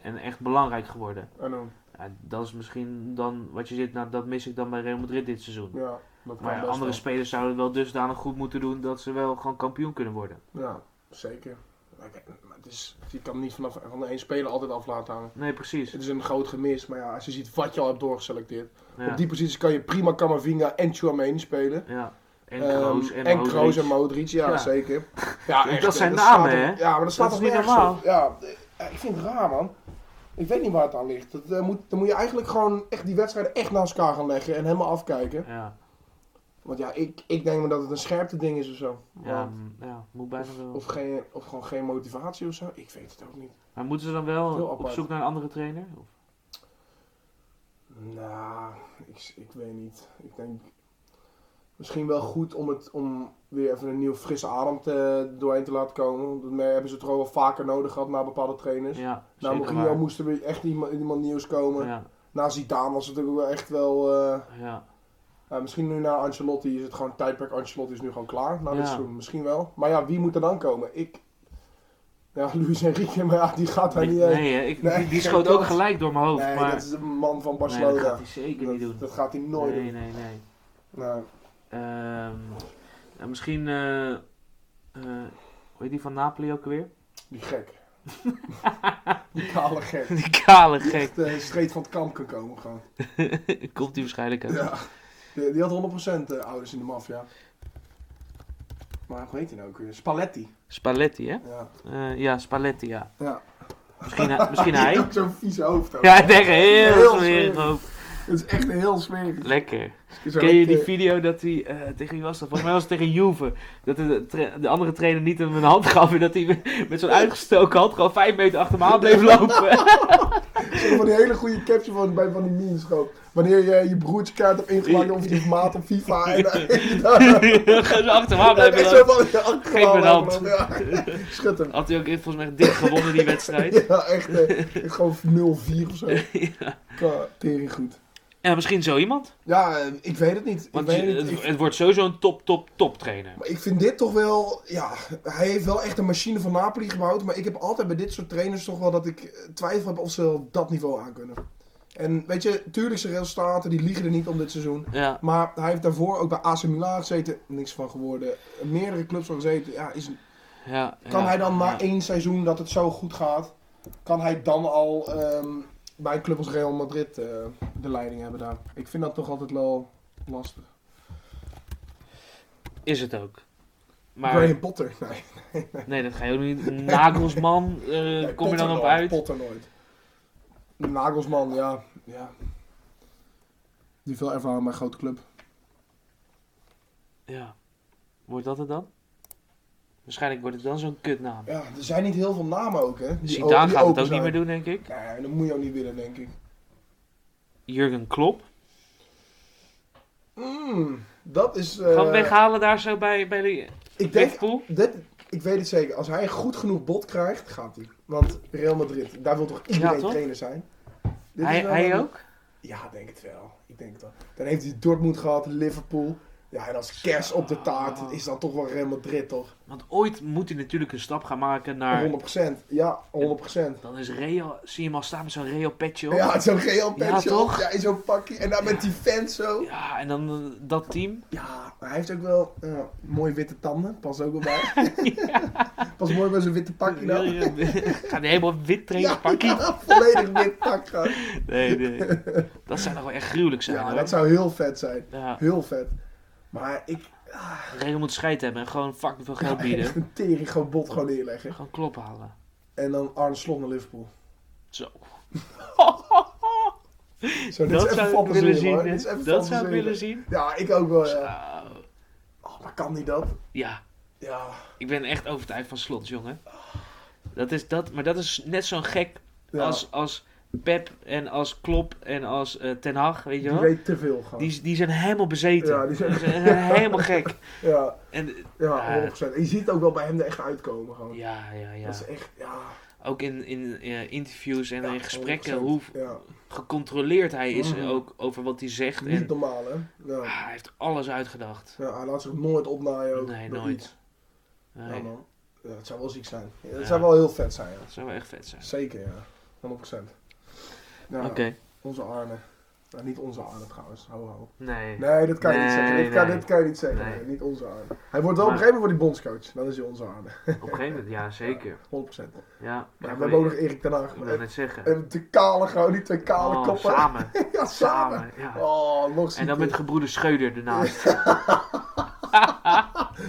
[SPEAKER 2] En echt belangrijk geworden.
[SPEAKER 3] En dan,
[SPEAKER 2] Ja, dat is misschien dan wat je zit, nou, dat mis ik dan bij Real Madrid dit seizoen.
[SPEAKER 3] ja, dat kan
[SPEAKER 2] Maar ja,
[SPEAKER 3] best
[SPEAKER 2] andere
[SPEAKER 3] wel.
[SPEAKER 2] spelers zouden het wel dusdanig goed moeten doen dat ze wel gewoon kampioen kunnen worden.
[SPEAKER 3] Ja, zeker. Maar kijk, maar het is, je kan hem niet vanaf van de één speler altijd af laten hangen.
[SPEAKER 2] Nee, precies.
[SPEAKER 3] Het is een groot gemis, maar ja, als je ziet wat je al hebt doorgeselecteerd.
[SPEAKER 2] Ja,
[SPEAKER 3] Op die positie kan je prima Camavinga en Chouameni spelen.
[SPEAKER 2] ja. en
[SPEAKER 3] Ehm,
[SPEAKER 2] Kroos en,
[SPEAKER 3] en
[SPEAKER 2] Modric.
[SPEAKER 3] Kroos en Modric, ja,
[SPEAKER 2] Ja.
[SPEAKER 3] zeker. Ja,
[SPEAKER 2] Dat
[SPEAKER 3] echt,
[SPEAKER 2] zijn
[SPEAKER 3] eh,
[SPEAKER 2] namen,
[SPEAKER 3] staat
[SPEAKER 2] hè?
[SPEAKER 3] op- Ja, maar dat staat
[SPEAKER 2] Dat
[SPEAKER 3] op
[SPEAKER 2] is niet
[SPEAKER 3] nergens op. Ja, eh, ik vind het raar, man. Ik weet niet waar het aan ligt. Dat, eh, moet, dan moet je eigenlijk gewoon echt die wedstrijden echt naast elkaar gaan leggen en helemaal afkijken.
[SPEAKER 2] Ja,
[SPEAKER 3] Want ja, ik, ik denk maar dat het een scherpte ding is of zo.
[SPEAKER 2] ja,
[SPEAKER 3] Maar-
[SPEAKER 2] m, ehm, ja, moet bijna wel.
[SPEAKER 3] Of, geen, of gewoon geen motivatie of zo. Ik weet het ook niet.
[SPEAKER 2] Maar moeten ze dan wel
[SPEAKER 3] Heel
[SPEAKER 2] op
[SPEAKER 3] apart.
[SPEAKER 2] zoek naar een andere trainer? Of?
[SPEAKER 3] Nou, ik, ik weet niet. Ik denk misschien wel goed om, het, om weer even een nieuw frisse adem te, doorheen te laten komen. Dat hebben ze toch wel vaker nodig gehad na bepaalde trainers.
[SPEAKER 2] Ja,
[SPEAKER 3] na
[SPEAKER 2] zeker
[SPEAKER 3] Nou, Mourinho
[SPEAKER 2] waar.
[SPEAKER 3] moest er weer echt iemand, iemand nieuws komen.
[SPEAKER 2] Ja,
[SPEAKER 3] Na Zidane was het ook wel echt wel... eh,
[SPEAKER 2] ja.
[SPEAKER 3] nou, misschien nu na Ancelotti is het gewoon tijdperk. Ancelotti is nu gewoon klaar na
[SPEAKER 2] Ja.
[SPEAKER 3] dit seizoen. Misschien wel. Maar ja, wie moet er dan komen? Ik... Ja, *laughs* Luis Enrique, maar ja, die gaat daar
[SPEAKER 2] Ik-
[SPEAKER 3] niet... eh,
[SPEAKER 2] nee, hè, ik,
[SPEAKER 3] Nee,
[SPEAKER 2] die, die
[SPEAKER 3] *laughs* geen
[SPEAKER 2] schoot ook
[SPEAKER 3] kans.
[SPEAKER 2] gelijk door mijn hoofd.
[SPEAKER 3] nee,
[SPEAKER 2] maar
[SPEAKER 3] dat is de man
[SPEAKER 2] nee,
[SPEAKER 3] van
[SPEAKER 2] dat
[SPEAKER 3] Barcelona.
[SPEAKER 2] gaat hij zeker
[SPEAKER 3] dat,
[SPEAKER 2] niet doen.
[SPEAKER 3] dat gaat hij nooit
[SPEAKER 2] nee,
[SPEAKER 3] doen.
[SPEAKER 2] nee, nee.
[SPEAKER 3] Nou,
[SPEAKER 2] Ehm, ja, misschien, eh eh, hoe heet die van Napoli ook weer?
[SPEAKER 3] Die gek. *laughs* die kale gek.
[SPEAKER 2] *laughs* Die kale
[SPEAKER 3] Die
[SPEAKER 2] gek.
[SPEAKER 3] echt eh, streed van het kamp kan komen gewoon.
[SPEAKER 2] *laughs* Komt die waarschijnlijk uit.
[SPEAKER 3] Ja. Die, die had 100% eh, ouders in de maffia. Maar hoe heet hij nou ook weer? Spalletti.
[SPEAKER 2] Spalletti, hè?
[SPEAKER 3] Ja.
[SPEAKER 2] Eh, ja, Spalletti, ja.
[SPEAKER 3] ja.
[SPEAKER 2] Misschien,
[SPEAKER 3] *laughs*
[SPEAKER 2] hij- misschien
[SPEAKER 3] Die
[SPEAKER 2] hij.
[SPEAKER 3] heeft Zo'n vies hoofd
[SPEAKER 2] *laughs*
[SPEAKER 3] ook.
[SPEAKER 2] Ja, hij denkt heel,
[SPEAKER 3] Heel
[SPEAKER 2] smerig
[SPEAKER 3] smerig.
[SPEAKER 2] ook.
[SPEAKER 3] Het is echt heel smerig.
[SPEAKER 2] Lekker.
[SPEAKER 3] Zo
[SPEAKER 2] Ken je
[SPEAKER 3] echt,
[SPEAKER 2] die
[SPEAKER 3] eh,
[SPEAKER 2] video dat hij... eh, tegen wie was dat? Volgens mij was het tegen Juve. Dat de, tra- de andere trainer niet hem een hand gaf. En dat hij *laughs* met- met zo'n uitgestoken hand gewoon vijf meter achter hem aan bleef lopen.
[SPEAKER 3] zo van die hele goede caption van, bij van die memes gewoon. Wanneer je je broertje kaart hebt ingemaakt of je maat op FIFA en dan- en dan...
[SPEAKER 2] Gewoon zo achter hem aan
[SPEAKER 3] en
[SPEAKER 2] blijven
[SPEAKER 3] *laughs* echt zo
[SPEAKER 2] lopen.
[SPEAKER 3] van, ja,
[SPEAKER 2] Geef me een hand.
[SPEAKER 3] Ja. Schud hem.
[SPEAKER 2] Had hij ook volgens mij dik gewonnen die
[SPEAKER 3] *laughs*
[SPEAKER 2] wedstrijd. *laughs*
[SPEAKER 3] Ja, echt. eh, gewoon 0-4 of zo.
[SPEAKER 2] Ja.
[SPEAKER 3] Ja, Tering goed.
[SPEAKER 2] Ja, misschien zo iemand.
[SPEAKER 3] Ja, eh, ik weet het niet. Ik
[SPEAKER 2] Want
[SPEAKER 3] weet het
[SPEAKER 2] het,
[SPEAKER 3] niet. Ik,
[SPEAKER 2] het wordt sowieso een top, top, top trainer.
[SPEAKER 3] maar ik vind dit toch wel... Ja, hij heeft wel echt een machine van Napoli gebouwd. Maar ik heb altijd bij dit soort trainers toch wel dat ik eh, twijfel heb of ze wel dat niveau aan kunnen. En weet je, tuurlijk zijn resultaten, die liegen er niet om dit seizoen.
[SPEAKER 2] Ja,
[SPEAKER 3] Maar hij heeft daarvoor ook bij AC Milan gezeten. Niks van geworden. Meerdere clubs van gezeten. Ja, is,
[SPEAKER 2] Ja,
[SPEAKER 3] Kan
[SPEAKER 2] ja,
[SPEAKER 3] hij dan na
[SPEAKER 2] ja.
[SPEAKER 3] één seizoen dat het zo goed gaat, kan hij dan al ehm, bij een club als Real Madrid eh, de leiding hebben daar? Ik vind dat toch altijd wel lastig.
[SPEAKER 2] Is het ook. Maar
[SPEAKER 3] Graham Potter, *laughs* nee.
[SPEAKER 2] nee, dat ga je ook niet.
[SPEAKER 3] *laughs*
[SPEAKER 2] Nagelsman, eh,
[SPEAKER 3] Nee,
[SPEAKER 2] kom je dan
[SPEAKER 3] Potter
[SPEAKER 2] op
[SPEAKER 3] nooit,
[SPEAKER 2] uit?
[SPEAKER 3] Potter nooit. Nagelsman, ja. ja. Die heeft veel ervaring bij een grote club.
[SPEAKER 2] Ja. Wordt dat het dan? Waarschijnlijk wordt het dan zo'n kutnaam.
[SPEAKER 3] Ja, er zijn niet heel veel namen ook, hè. die o-
[SPEAKER 2] Dus Zidane
[SPEAKER 3] die
[SPEAKER 2] gaat het
[SPEAKER 3] open
[SPEAKER 2] ook niet
[SPEAKER 3] zijn.
[SPEAKER 2] meer doen, denk ik.
[SPEAKER 3] Nee, dat moet je ook niet willen, denk ik.
[SPEAKER 2] Jurgen Klopp.
[SPEAKER 3] Mm, dat is... eh,
[SPEAKER 2] Gaan we weghalen daar zo bij, bij de
[SPEAKER 3] Ik denk
[SPEAKER 2] Liverpool?
[SPEAKER 3] Dit, ik weet het zeker, als hij een goed genoeg bod krijgt, gaat hij. Want Real Madrid, daar wil toch iedereen
[SPEAKER 2] Ja, toch?
[SPEAKER 3] trainer zijn? Dit
[SPEAKER 2] Hij,
[SPEAKER 3] is wel
[SPEAKER 2] hij
[SPEAKER 3] een-
[SPEAKER 2] ook?
[SPEAKER 3] Ja, denk het wel. Ik denk het wel. Dan heeft hij Dortmund gehad, Liverpool. Ja, en als kers op de taart is dan toch wel Real Madrid, toch?
[SPEAKER 2] Want ooit moet hij natuurlijk een stap gaan maken naar...
[SPEAKER 3] 100%. Ja, 100%.
[SPEAKER 2] Dan is Real... Zie je hem al staan met zo'n Real-petje op?
[SPEAKER 3] Ja, zo'n Real
[SPEAKER 2] Ja,
[SPEAKER 3] petje op.
[SPEAKER 2] toch?
[SPEAKER 3] Ja, in zo'n pakje. En dan met die fans zo.
[SPEAKER 2] Ja, en dan eh, dat team.
[SPEAKER 3] Ja, maar hij heeft ook wel eh, mooie witte tanden. Pas ook wel bij.
[SPEAKER 2] *laughs*
[SPEAKER 3] Pas mooi bij zo'n witte pakje dan.
[SPEAKER 2] Gaat hij helemaal wit trainen pakkie?
[SPEAKER 3] nou. *laughs* ja, volledig wit pak gewoon.
[SPEAKER 2] Nee, nee. Dat zou nog wel echt gruwelijk zijn.
[SPEAKER 3] Ja,
[SPEAKER 2] hoor.
[SPEAKER 3] dat zou heel vet zijn.
[SPEAKER 2] Ja,
[SPEAKER 3] Heel vet. Maar ik
[SPEAKER 2] Real moet scheid hebben en gewoon fucking veel geld
[SPEAKER 3] ga echt
[SPEAKER 2] bieden.
[SPEAKER 3] een tering gewoon bot gewoon neerleggen.
[SPEAKER 2] Gewoon klop halen.
[SPEAKER 3] En dan Arne Slot naar Liverpool.
[SPEAKER 2] Zo.
[SPEAKER 3] Zo,
[SPEAKER 2] dat
[SPEAKER 3] dit is even
[SPEAKER 2] zou ik willen
[SPEAKER 3] fantaseren,
[SPEAKER 2] zien.
[SPEAKER 3] hoor.
[SPEAKER 2] hè.
[SPEAKER 3] Dit is even
[SPEAKER 2] Dat zou ik
[SPEAKER 3] fantaseren.
[SPEAKER 2] willen zien.
[SPEAKER 3] Ja, ik ook wel, ja.
[SPEAKER 2] Zo.
[SPEAKER 3] Oh, maar kan die dat?
[SPEAKER 2] Ja,
[SPEAKER 3] Ja.
[SPEAKER 2] ik ben echt overtuigd van slot, jongen. Dat is dat, maar dat is net zo'n gek
[SPEAKER 3] ja.
[SPEAKER 2] als, als Pep en als Klop en als eh, Ten Hag, weet je
[SPEAKER 3] die
[SPEAKER 2] wel?
[SPEAKER 3] weet te veel gewoon.
[SPEAKER 2] Die, die zijn helemaal bezeten.
[SPEAKER 3] Ja, die zijn-
[SPEAKER 2] Ze zijn helemaal gek.
[SPEAKER 3] *laughs* Ja,
[SPEAKER 2] En, Ja.
[SPEAKER 3] ja, 100%. En je ziet het ook wel bij hem er echt uitkomen gewoon.
[SPEAKER 2] ja, ja, ja.
[SPEAKER 3] Dat is echt, ja.
[SPEAKER 2] Ook in, in eh, interviews en
[SPEAKER 3] ja,
[SPEAKER 2] in gesprekken,
[SPEAKER 3] 100%.
[SPEAKER 2] hoe
[SPEAKER 3] Ja,
[SPEAKER 2] gecontroleerd hij is eh,
[SPEAKER 3] Mhm.
[SPEAKER 2] ook over wat hij zegt.
[SPEAKER 3] niet
[SPEAKER 2] En,
[SPEAKER 3] normaal, hè. Ja.
[SPEAKER 2] ah, hij heeft alles uitgedacht.
[SPEAKER 3] Ja, hij laat zich nooit opnaaien ook.
[SPEAKER 2] Nee,
[SPEAKER 3] door
[SPEAKER 2] nooit.
[SPEAKER 3] iets. Ja,
[SPEAKER 2] Nee,
[SPEAKER 3] man. Ja, het zou wel ziek zijn. Ja, het
[SPEAKER 2] Ja.
[SPEAKER 3] zou wel heel vet zijn, ja.
[SPEAKER 2] dat zou wel echt vet zijn.
[SPEAKER 3] Zeker, ja. 100%. Ja,
[SPEAKER 2] Oké.
[SPEAKER 3] Onze Arne. Nou, niet onze Arne trouwens. Ho, ho.
[SPEAKER 2] Nee.
[SPEAKER 3] Nee, dat kan je niet
[SPEAKER 2] Nee,
[SPEAKER 3] zeggen. Dit kan,
[SPEAKER 2] nee.
[SPEAKER 3] dit kan je niet zeggen.
[SPEAKER 2] Nee.
[SPEAKER 3] Nee, niet onze Arne. Hij wordt wel op een
[SPEAKER 2] Maar-
[SPEAKER 3] gegeven moment wordt hij bondscoach. Dan is hij onze Arne. 100%.
[SPEAKER 2] Op een gegeven moment, ja, zeker. Ja,
[SPEAKER 3] Maar
[SPEAKER 2] ik
[SPEAKER 3] we hebben
[SPEAKER 2] wil-
[SPEAKER 3] ook nog Erik ten Hag.
[SPEAKER 2] Ik wil net zeggen.
[SPEAKER 3] En de kale gewoon, die twee kale
[SPEAKER 2] Oh,
[SPEAKER 3] koppen.
[SPEAKER 2] samen.
[SPEAKER 3] *laughs* ja, samen.
[SPEAKER 2] Samen, ja.
[SPEAKER 3] Oh, nog
[SPEAKER 2] En dan
[SPEAKER 3] zieker.
[SPEAKER 2] met gebroeder Scheuder ernaast.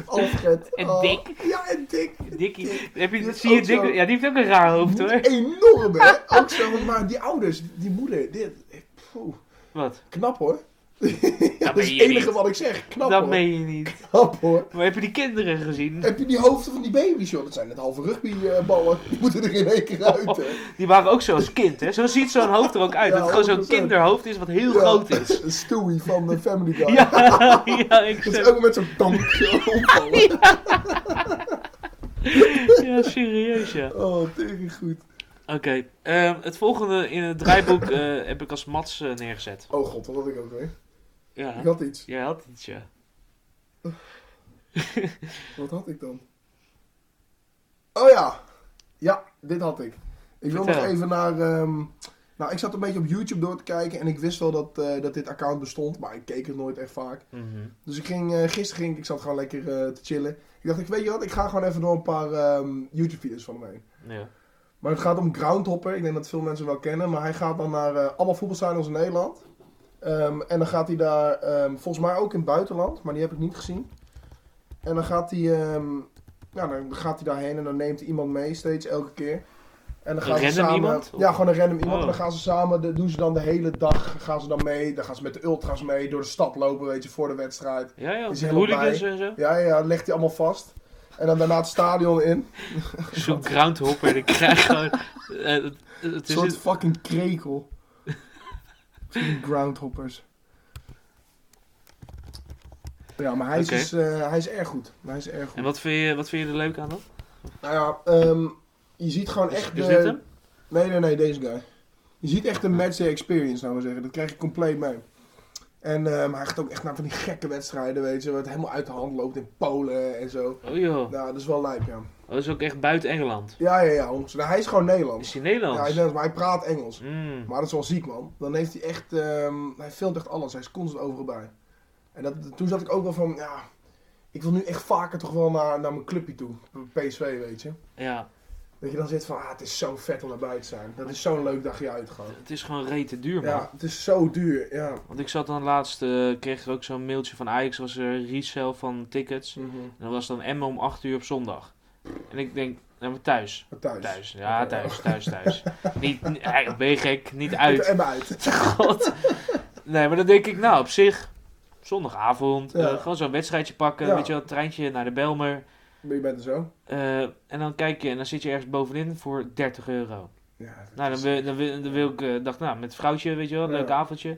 [SPEAKER 3] Alfred.
[SPEAKER 2] *laughs* En
[SPEAKER 3] Oh.
[SPEAKER 2] Dick.
[SPEAKER 3] Ja, en Dick.
[SPEAKER 2] Dikkie, heb
[SPEAKER 3] Die
[SPEAKER 2] je,
[SPEAKER 3] is
[SPEAKER 2] zie je
[SPEAKER 3] ook zo.
[SPEAKER 2] Dick? Ja, die heeft ook een raar hoofd hoor.
[SPEAKER 3] Enorm,
[SPEAKER 2] *laughs*
[SPEAKER 3] hè? Ook zo, maar die ouders, die moeder, dit. eh, poeh.
[SPEAKER 2] Wat?
[SPEAKER 3] Knap hoor. *laughs* dat
[SPEAKER 2] meen
[SPEAKER 3] is het
[SPEAKER 2] je
[SPEAKER 3] enige
[SPEAKER 2] niet.
[SPEAKER 3] wat ik zeg. Knap
[SPEAKER 2] Dat
[SPEAKER 3] hoor.
[SPEAKER 2] meen je niet.
[SPEAKER 3] Knap hoor.
[SPEAKER 2] Maar heb je die kinderen gezien?
[SPEAKER 3] Heb je die hoofden van die baby's, joh? Dat zijn net halve rugbyballen. Die moeten er in één keer
[SPEAKER 2] Oh,
[SPEAKER 3] uit, hè?
[SPEAKER 2] Die waren ook zo als kind, hè? Zo ziet zo'n hoofd er ook uit. dat
[SPEAKER 3] Ja,
[SPEAKER 2] het gewoon zo'n
[SPEAKER 3] 100%.
[SPEAKER 2] kinderhoofd is wat heel
[SPEAKER 3] Ja.
[SPEAKER 2] groot is.
[SPEAKER 3] *laughs* Een Stewie van de Family Guy.
[SPEAKER 2] Ja, ja, ik
[SPEAKER 3] Dat is
[SPEAKER 2] zeg.
[SPEAKER 3] ook met zo'n tankje omvallen.
[SPEAKER 2] Ja, serieus ja.
[SPEAKER 3] Oh, tegen goed.
[SPEAKER 2] Oké, ehm, het volgende in het draaiboek eh, heb ik als Mats eh, neergezet.
[SPEAKER 3] Oh god, wat had ik ook weer?
[SPEAKER 2] Ja,
[SPEAKER 3] Ik had iets.
[SPEAKER 2] jij had iets, ja.
[SPEAKER 3] Wat had ik dan? Oh ja. Ja, dit had ik. Ik wil nog
[SPEAKER 2] Vertel.
[SPEAKER 3] even naar... ehm, Nou, ik zat een beetje op YouTube door te kijken. En ik wist wel dat, eh, dat dit account bestond. Maar ik keek het nooit echt vaak.
[SPEAKER 2] Mhm.
[SPEAKER 3] Dus ik ging, eh, gisteren ging ik, ik zat gewoon lekker eh, te chillen. Ik dacht, ik weet je wat, ik ga gewoon even door een paar ehm, YouTube-video's van hem heen.
[SPEAKER 2] Ja.
[SPEAKER 3] Maar het gaat om Groundhopper, ik denk dat veel mensen hem wel kennen. Maar hij gaat dan naar eh, allemaal voetbalstadions in Nederland. Ehm, en dan gaat hij daar, ehm, volgens mij ook in het buitenland, maar die heb ik niet gezien. En dan gaat hij, ehm, ja, dan gaat hij daarheen en dan neemt hij iemand mee, steeds elke keer. En dan
[SPEAKER 2] Een
[SPEAKER 3] gaan ze
[SPEAKER 2] random
[SPEAKER 3] samen,
[SPEAKER 2] iemand?
[SPEAKER 3] Ja, gewoon een random iemand.
[SPEAKER 2] Oh.
[SPEAKER 3] En dan gaan ze samen, de- doen ze dan de hele dag, gaan ze dan mee. Dan gaan ze met de ultras mee, door de stad lopen, weet je, voor de wedstrijd.
[SPEAKER 2] Ja, ja,
[SPEAKER 3] Is
[SPEAKER 2] de
[SPEAKER 3] helemaal
[SPEAKER 2] hooligans en zo.
[SPEAKER 3] Ja, ja, legt hij allemaal vast. En dan daarna het stadion in.
[SPEAKER 2] *laughs* Zo'n groundhopper, en ik krijg gewoon... eh, het- het
[SPEAKER 3] Een
[SPEAKER 2] is
[SPEAKER 3] soort
[SPEAKER 2] een-
[SPEAKER 3] fucking krekel. Fucking groundhoppers. Ja, maar hij is,
[SPEAKER 2] Oké.
[SPEAKER 3] dus, eh, hij is erg goed. Hij is erg goed.
[SPEAKER 2] En wat vind, je, wat vind je er leuk aan dan?
[SPEAKER 3] Nou ja, ehm, je ziet gewoon
[SPEAKER 2] Is,
[SPEAKER 3] echt...
[SPEAKER 2] is
[SPEAKER 3] de-
[SPEAKER 2] dit hem? Ah.
[SPEAKER 3] Nee, nee, nee, deze guy. Je ziet echt een matchday experience, nou maar zeggen. Dat krijg je compleet mee. En ehm, hij gaat ook echt naar van die gekke wedstrijden, weet je. Waar het helemaal uit de hand loopt in Polen en zo.
[SPEAKER 2] Oh joh,
[SPEAKER 3] Nou, dat is wel lijp, ja.
[SPEAKER 2] Oh, dat is ook echt buiten Engeland.
[SPEAKER 3] Ja, ja, ja. honderd- Nou, hij is gewoon Nederlands.
[SPEAKER 2] Is hij
[SPEAKER 3] Ja, hij
[SPEAKER 2] Nederlands?
[SPEAKER 3] is Nederlands, maar hij praat Engels.
[SPEAKER 2] Mm.
[SPEAKER 3] Maar dat is wel ziek, man. Dan heeft hij echt... ehm, hij filmt echt alles. Hij is constant overal bij. En dat, toen zat ik ook wel van... Ja, Ik wil nu echt vaker toch wel naar, naar mijn clubje toe. PSV, weet je.
[SPEAKER 2] Ja,
[SPEAKER 3] Dat je dan zit van, ah, het is zo vet om erbij te zijn. Dat is zo'n leuk dagje uit gewoon.
[SPEAKER 2] het is gewoon rete duur, man.
[SPEAKER 3] Ja, het is zo duur, ja.
[SPEAKER 2] Want ik zat dan laatst, eh, kreeg ik ook zo'n mailtje van Ajax, was er een resale van tickets.
[SPEAKER 3] Mhm.
[SPEAKER 2] En dat was dan Emmen om 8 uur op zondag. En ik denk, nou, maar thuis.
[SPEAKER 3] Maar thuis.
[SPEAKER 2] Thuis, ja,
[SPEAKER 3] Oké.
[SPEAKER 2] thuis, thuis, thuis. niet, n- eh, ben je gek, niet
[SPEAKER 3] Uit.
[SPEAKER 2] uit. *laughs*
[SPEAKER 3] En uit.
[SPEAKER 2] God. Nee, maar dan denk ik, nou, op zich, zondagavond,
[SPEAKER 3] Ja.
[SPEAKER 2] eh, gewoon zo'n wedstrijdje pakken,
[SPEAKER 3] Ja.
[SPEAKER 2] weet je wel, treintje naar de Belmer.
[SPEAKER 3] Maar *laughs* je bent er zo.
[SPEAKER 2] Eh, en dan kijk je en dan zit je ergens bovenin voor 30 euro.
[SPEAKER 3] Ja, dat
[SPEAKER 2] Nou, dan
[SPEAKER 3] is-
[SPEAKER 2] wil, dan wil, dan wil ik, eh, dacht nou, met vrouwtje, weet je wel,
[SPEAKER 3] Ja.
[SPEAKER 2] leuk avondje.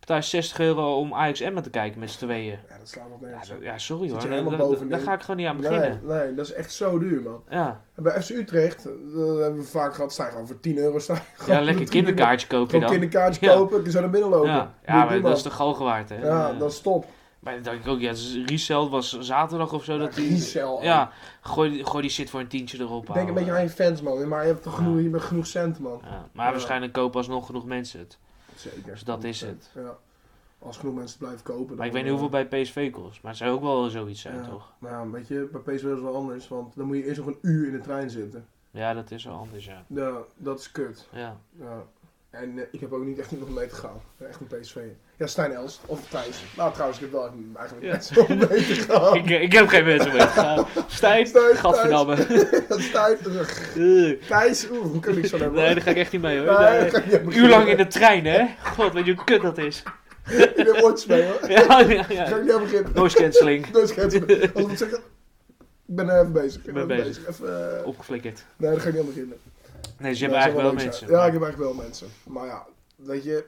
[SPEAKER 2] Betaal je 60 euro om Ajax Emmen te kijken met z'n tweeën.
[SPEAKER 3] ja, dat slaat nog
[SPEAKER 2] Ja,
[SPEAKER 3] nergens
[SPEAKER 2] dat-
[SPEAKER 3] op.
[SPEAKER 2] ja, sorry
[SPEAKER 3] Zit
[SPEAKER 2] hoor,
[SPEAKER 3] je
[SPEAKER 2] daar,
[SPEAKER 3] helemaal
[SPEAKER 2] daar-
[SPEAKER 3] bovenin?
[SPEAKER 2] daar ga ik gewoon niet aan
[SPEAKER 3] Nee,
[SPEAKER 2] beginnen.
[SPEAKER 3] nee, dat is echt zo duur, man.
[SPEAKER 2] Ja,
[SPEAKER 3] En bij FC Utrecht, eh, dat hebben we vaak gehad, sta je gewoon voor 10 euro. Sta je gewoon *laughs*
[SPEAKER 2] ja lekker
[SPEAKER 3] voor 10 euro.
[SPEAKER 2] kinderkaartje koop je
[SPEAKER 3] Gewoon
[SPEAKER 2] dan.
[SPEAKER 3] kinderkaartje
[SPEAKER 2] Ja.
[SPEAKER 3] kopen, die zou naar binnen lopen.
[SPEAKER 2] Ja,
[SPEAKER 3] Doe
[SPEAKER 2] ja maar
[SPEAKER 3] die,
[SPEAKER 2] dat
[SPEAKER 3] man.
[SPEAKER 2] is de gal waard hè.
[SPEAKER 3] Ja,
[SPEAKER 2] Eh,
[SPEAKER 3] dat is top.
[SPEAKER 2] Maar dan denk ik ook, ja, het is resell was zaterdag of zo. dat die,
[SPEAKER 3] Resell,
[SPEAKER 2] ja, gooi, die- gooi die shit voor een tientje erop.
[SPEAKER 3] Denk een
[SPEAKER 2] ouwe.
[SPEAKER 3] beetje aan je fans, man. Maar je hebt toch genoeg,
[SPEAKER 2] Ja.
[SPEAKER 3] je bent genoeg cent, man.
[SPEAKER 2] Ja, maar
[SPEAKER 3] Ja.
[SPEAKER 2] waarschijnlijk kopen alsnog genoeg mensen het.
[SPEAKER 3] Zeker.
[SPEAKER 2] Dus dat is het.
[SPEAKER 3] Ja. Als genoeg mensen het blijven kopen.
[SPEAKER 2] Maar ik
[SPEAKER 3] dan,
[SPEAKER 2] weet niet
[SPEAKER 3] eh,
[SPEAKER 2] hoeveel bij PSV kost. Maar het zou ook wel zoiets zijn,
[SPEAKER 3] ja.
[SPEAKER 2] toch?
[SPEAKER 3] Maar ja, weet je, bij PSV is het wel anders. Want dan moet je eerst nog een uur in de trein zitten.
[SPEAKER 2] Ja, dat is wel anders, ja.
[SPEAKER 3] Ja, dat is kut.
[SPEAKER 2] Ja,
[SPEAKER 3] Ja. En eh, ik heb ook niet echt iemand mee te gaan. Echt een PSV. Ja, Stijn Elst of Thijs. Nou, trouwens, ik heb wel echt- eigenlijk
[SPEAKER 2] Ja.
[SPEAKER 3] net zo mee te gaan.
[SPEAKER 2] *laughs* ik, ik heb geen mensen mee.
[SPEAKER 3] *laughs*
[SPEAKER 2] Uh, Stijn,
[SPEAKER 3] Stijn,
[SPEAKER 2] gadverdamme.
[SPEAKER 3] Stijn, eh,
[SPEAKER 2] *laughs* Eh,
[SPEAKER 3] Thijs, oeh, hoe kan ik zo naar
[SPEAKER 2] nee, daar ga ik echt niet mee, hoor.
[SPEAKER 3] Nee,
[SPEAKER 2] Nee.
[SPEAKER 3] dat kan je
[SPEAKER 2] Een
[SPEAKER 3] niet.
[SPEAKER 2] uur lang
[SPEAKER 3] *laughs*
[SPEAKER 2] in de trein, hè? God, weet je hoe kut dat is? *laughs*
[SPEAKER 3] Ik ben woordjes mee, hoor.
[SPEAKER 2] Ja,
[SPEAKER 3] *laughs*
[SPEAKER 2] ja,
[SPEAKER 3] Ga
[SPEAKER 2] ja.
[SPEAKER 3] ik niet aan beginnen.
[SPEAKER 2] Noise cancelling.
[SPEAKER 3] Dus ik heb- als ik het zeg, ik ben er even bezig.
[SPEAKER 2] Ik ben bezig.
[SPEAKER 3] Even, eh,
[SPEAKER 2] Opgeflikkerd.
[SPEAKER 3] nee, daar ga ik niet aan beginnen.
[SPEAKER 2] Nee, ze
[SPEAKER 3] Nee,
[SPEAKER 2] hebben
[SPEAKER 3] dat zou
[SPEAKER 2] eigenlijk wel
[SPEAKER 3] leuk
[SPEAKER 2] mensen.
[SPEAKER 3] zijn. Ja, ik heb eigenlijk wel mensen. Maar ja, weet je,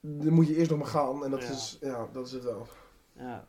[SPEAKER 3] dan moet je eerst nog maar gaan. En dat,
[SPEAKER 2] Ja.
[SPEAKER 3] Is, ja, dat is het wel.
[SPEAKER 2] Ja.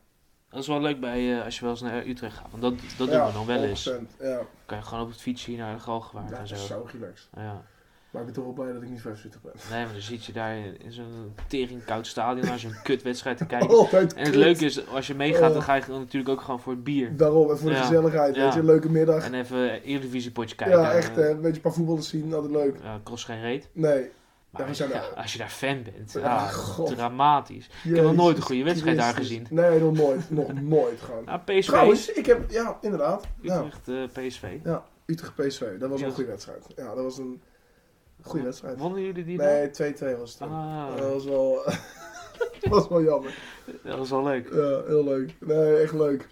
[SPEAKER 2] Dat is wel leuk bij, eh, als je wel eens naar Utrecht gaat. Want dat, dat
[SPEAKER 3] Ja,
[SPEAKER 2] doen we dan wel eens.
[SPEAKER 3] 100%, Ja,
[SPEAKER 2] kan je gewoon op het fietsje hier naar de Galgenwaard
[SPEAKER 3] dat
[SPEAKER 2] en
[SPEAKER 3] is
[SPEAKER 2] zo.
[SPEAKER 3] zo relaxed.
[SPEAKER 2] Ja.
[SPEAKER 3] Maar ik ben toch wel blij dat ik niet 75 ben.
[SPEAKER 2] Nee, maar dan zit je daar in zo'n tering koud stadion naar zo'n kutwedstrijd
[SPEAKER 3] *laughs*
[SPEAKER 2] te kijken.
[SPEAKER 3] Altijd
[SPEAKER 2] En het
[SPEAKER 3] kut.
[SPEAKER 2] leuke is, als je meegaat, dan
[SPEAKER 3] Oh.
[SPEAKER 2] ga je natuurlijk ook gewoon voor het bier.
[SPEAKER 3] Daarom, en voor de
[SPEAKER 2] Ja.
[SPEAKER 3] gezelligheid,
[SPEAKER 2] Ja.
[SPEAKER 3] weet je, een leuke middag.
[SPEAKER 2] En even Eredivisie potje kijken.
[SPEAKER 3] ja, echt,
[SPEAKER 2] Eh,
[SPEAKER 3] hè, een beetje een paar voetballers zien, altijd leuk.
[SPEAKER 2] ja, kost geen reet.
[SPEAKER 3] Nee,
[SPEAKER 2] Maar
[SPEAKER 3] Ja, we
[SPEAKER 2] als,
[SPEAKER 3] zijn
[SPEAKER 2] ja,
[SPEAKER 3] er-
[SPEAKER 2] als je daar fan bent,
[SPEAKER 3] Ah,
[SPEAKER 2] ja,
[SPEAKER 3] god.
[SPEAKER 2] dramatisch. Ik heb nog nooit een goede wedstrijd daar gezien.
[SPEAKER 3] Nee, nog
[SPEAKER 2] *laughs*
[SPEAKER 3] nooit. nog nooit gewoon.
[SPEAKER 2] Nou, PSV,
[SPEAKER 3] Trouwens, ik heb, ja, inderdaad. Ja,
[SPEAKER 2] Utrecht, eh, PSV.
[SPEAKER 3] Utrecht PSV, dat was
[SPEAKER 2] Ja. Ah,
[SPEAKER 3] een goede wedstrijd. Ja, dat was een goede wedstrijd.
[SPEAKER 2] Wonnen jullie die dan?
[SPEAKER 3] Nee, 2-2 was het. dan.
[SPEAKER 2] Ah,
[SPEAKER 3] Dat was wel, *laughs* dat was wel jammer.
[SPEAKER 2] dat was wel leuk.
[SPEAKER 3] Ja, heel leuk. Nee, echt leuk.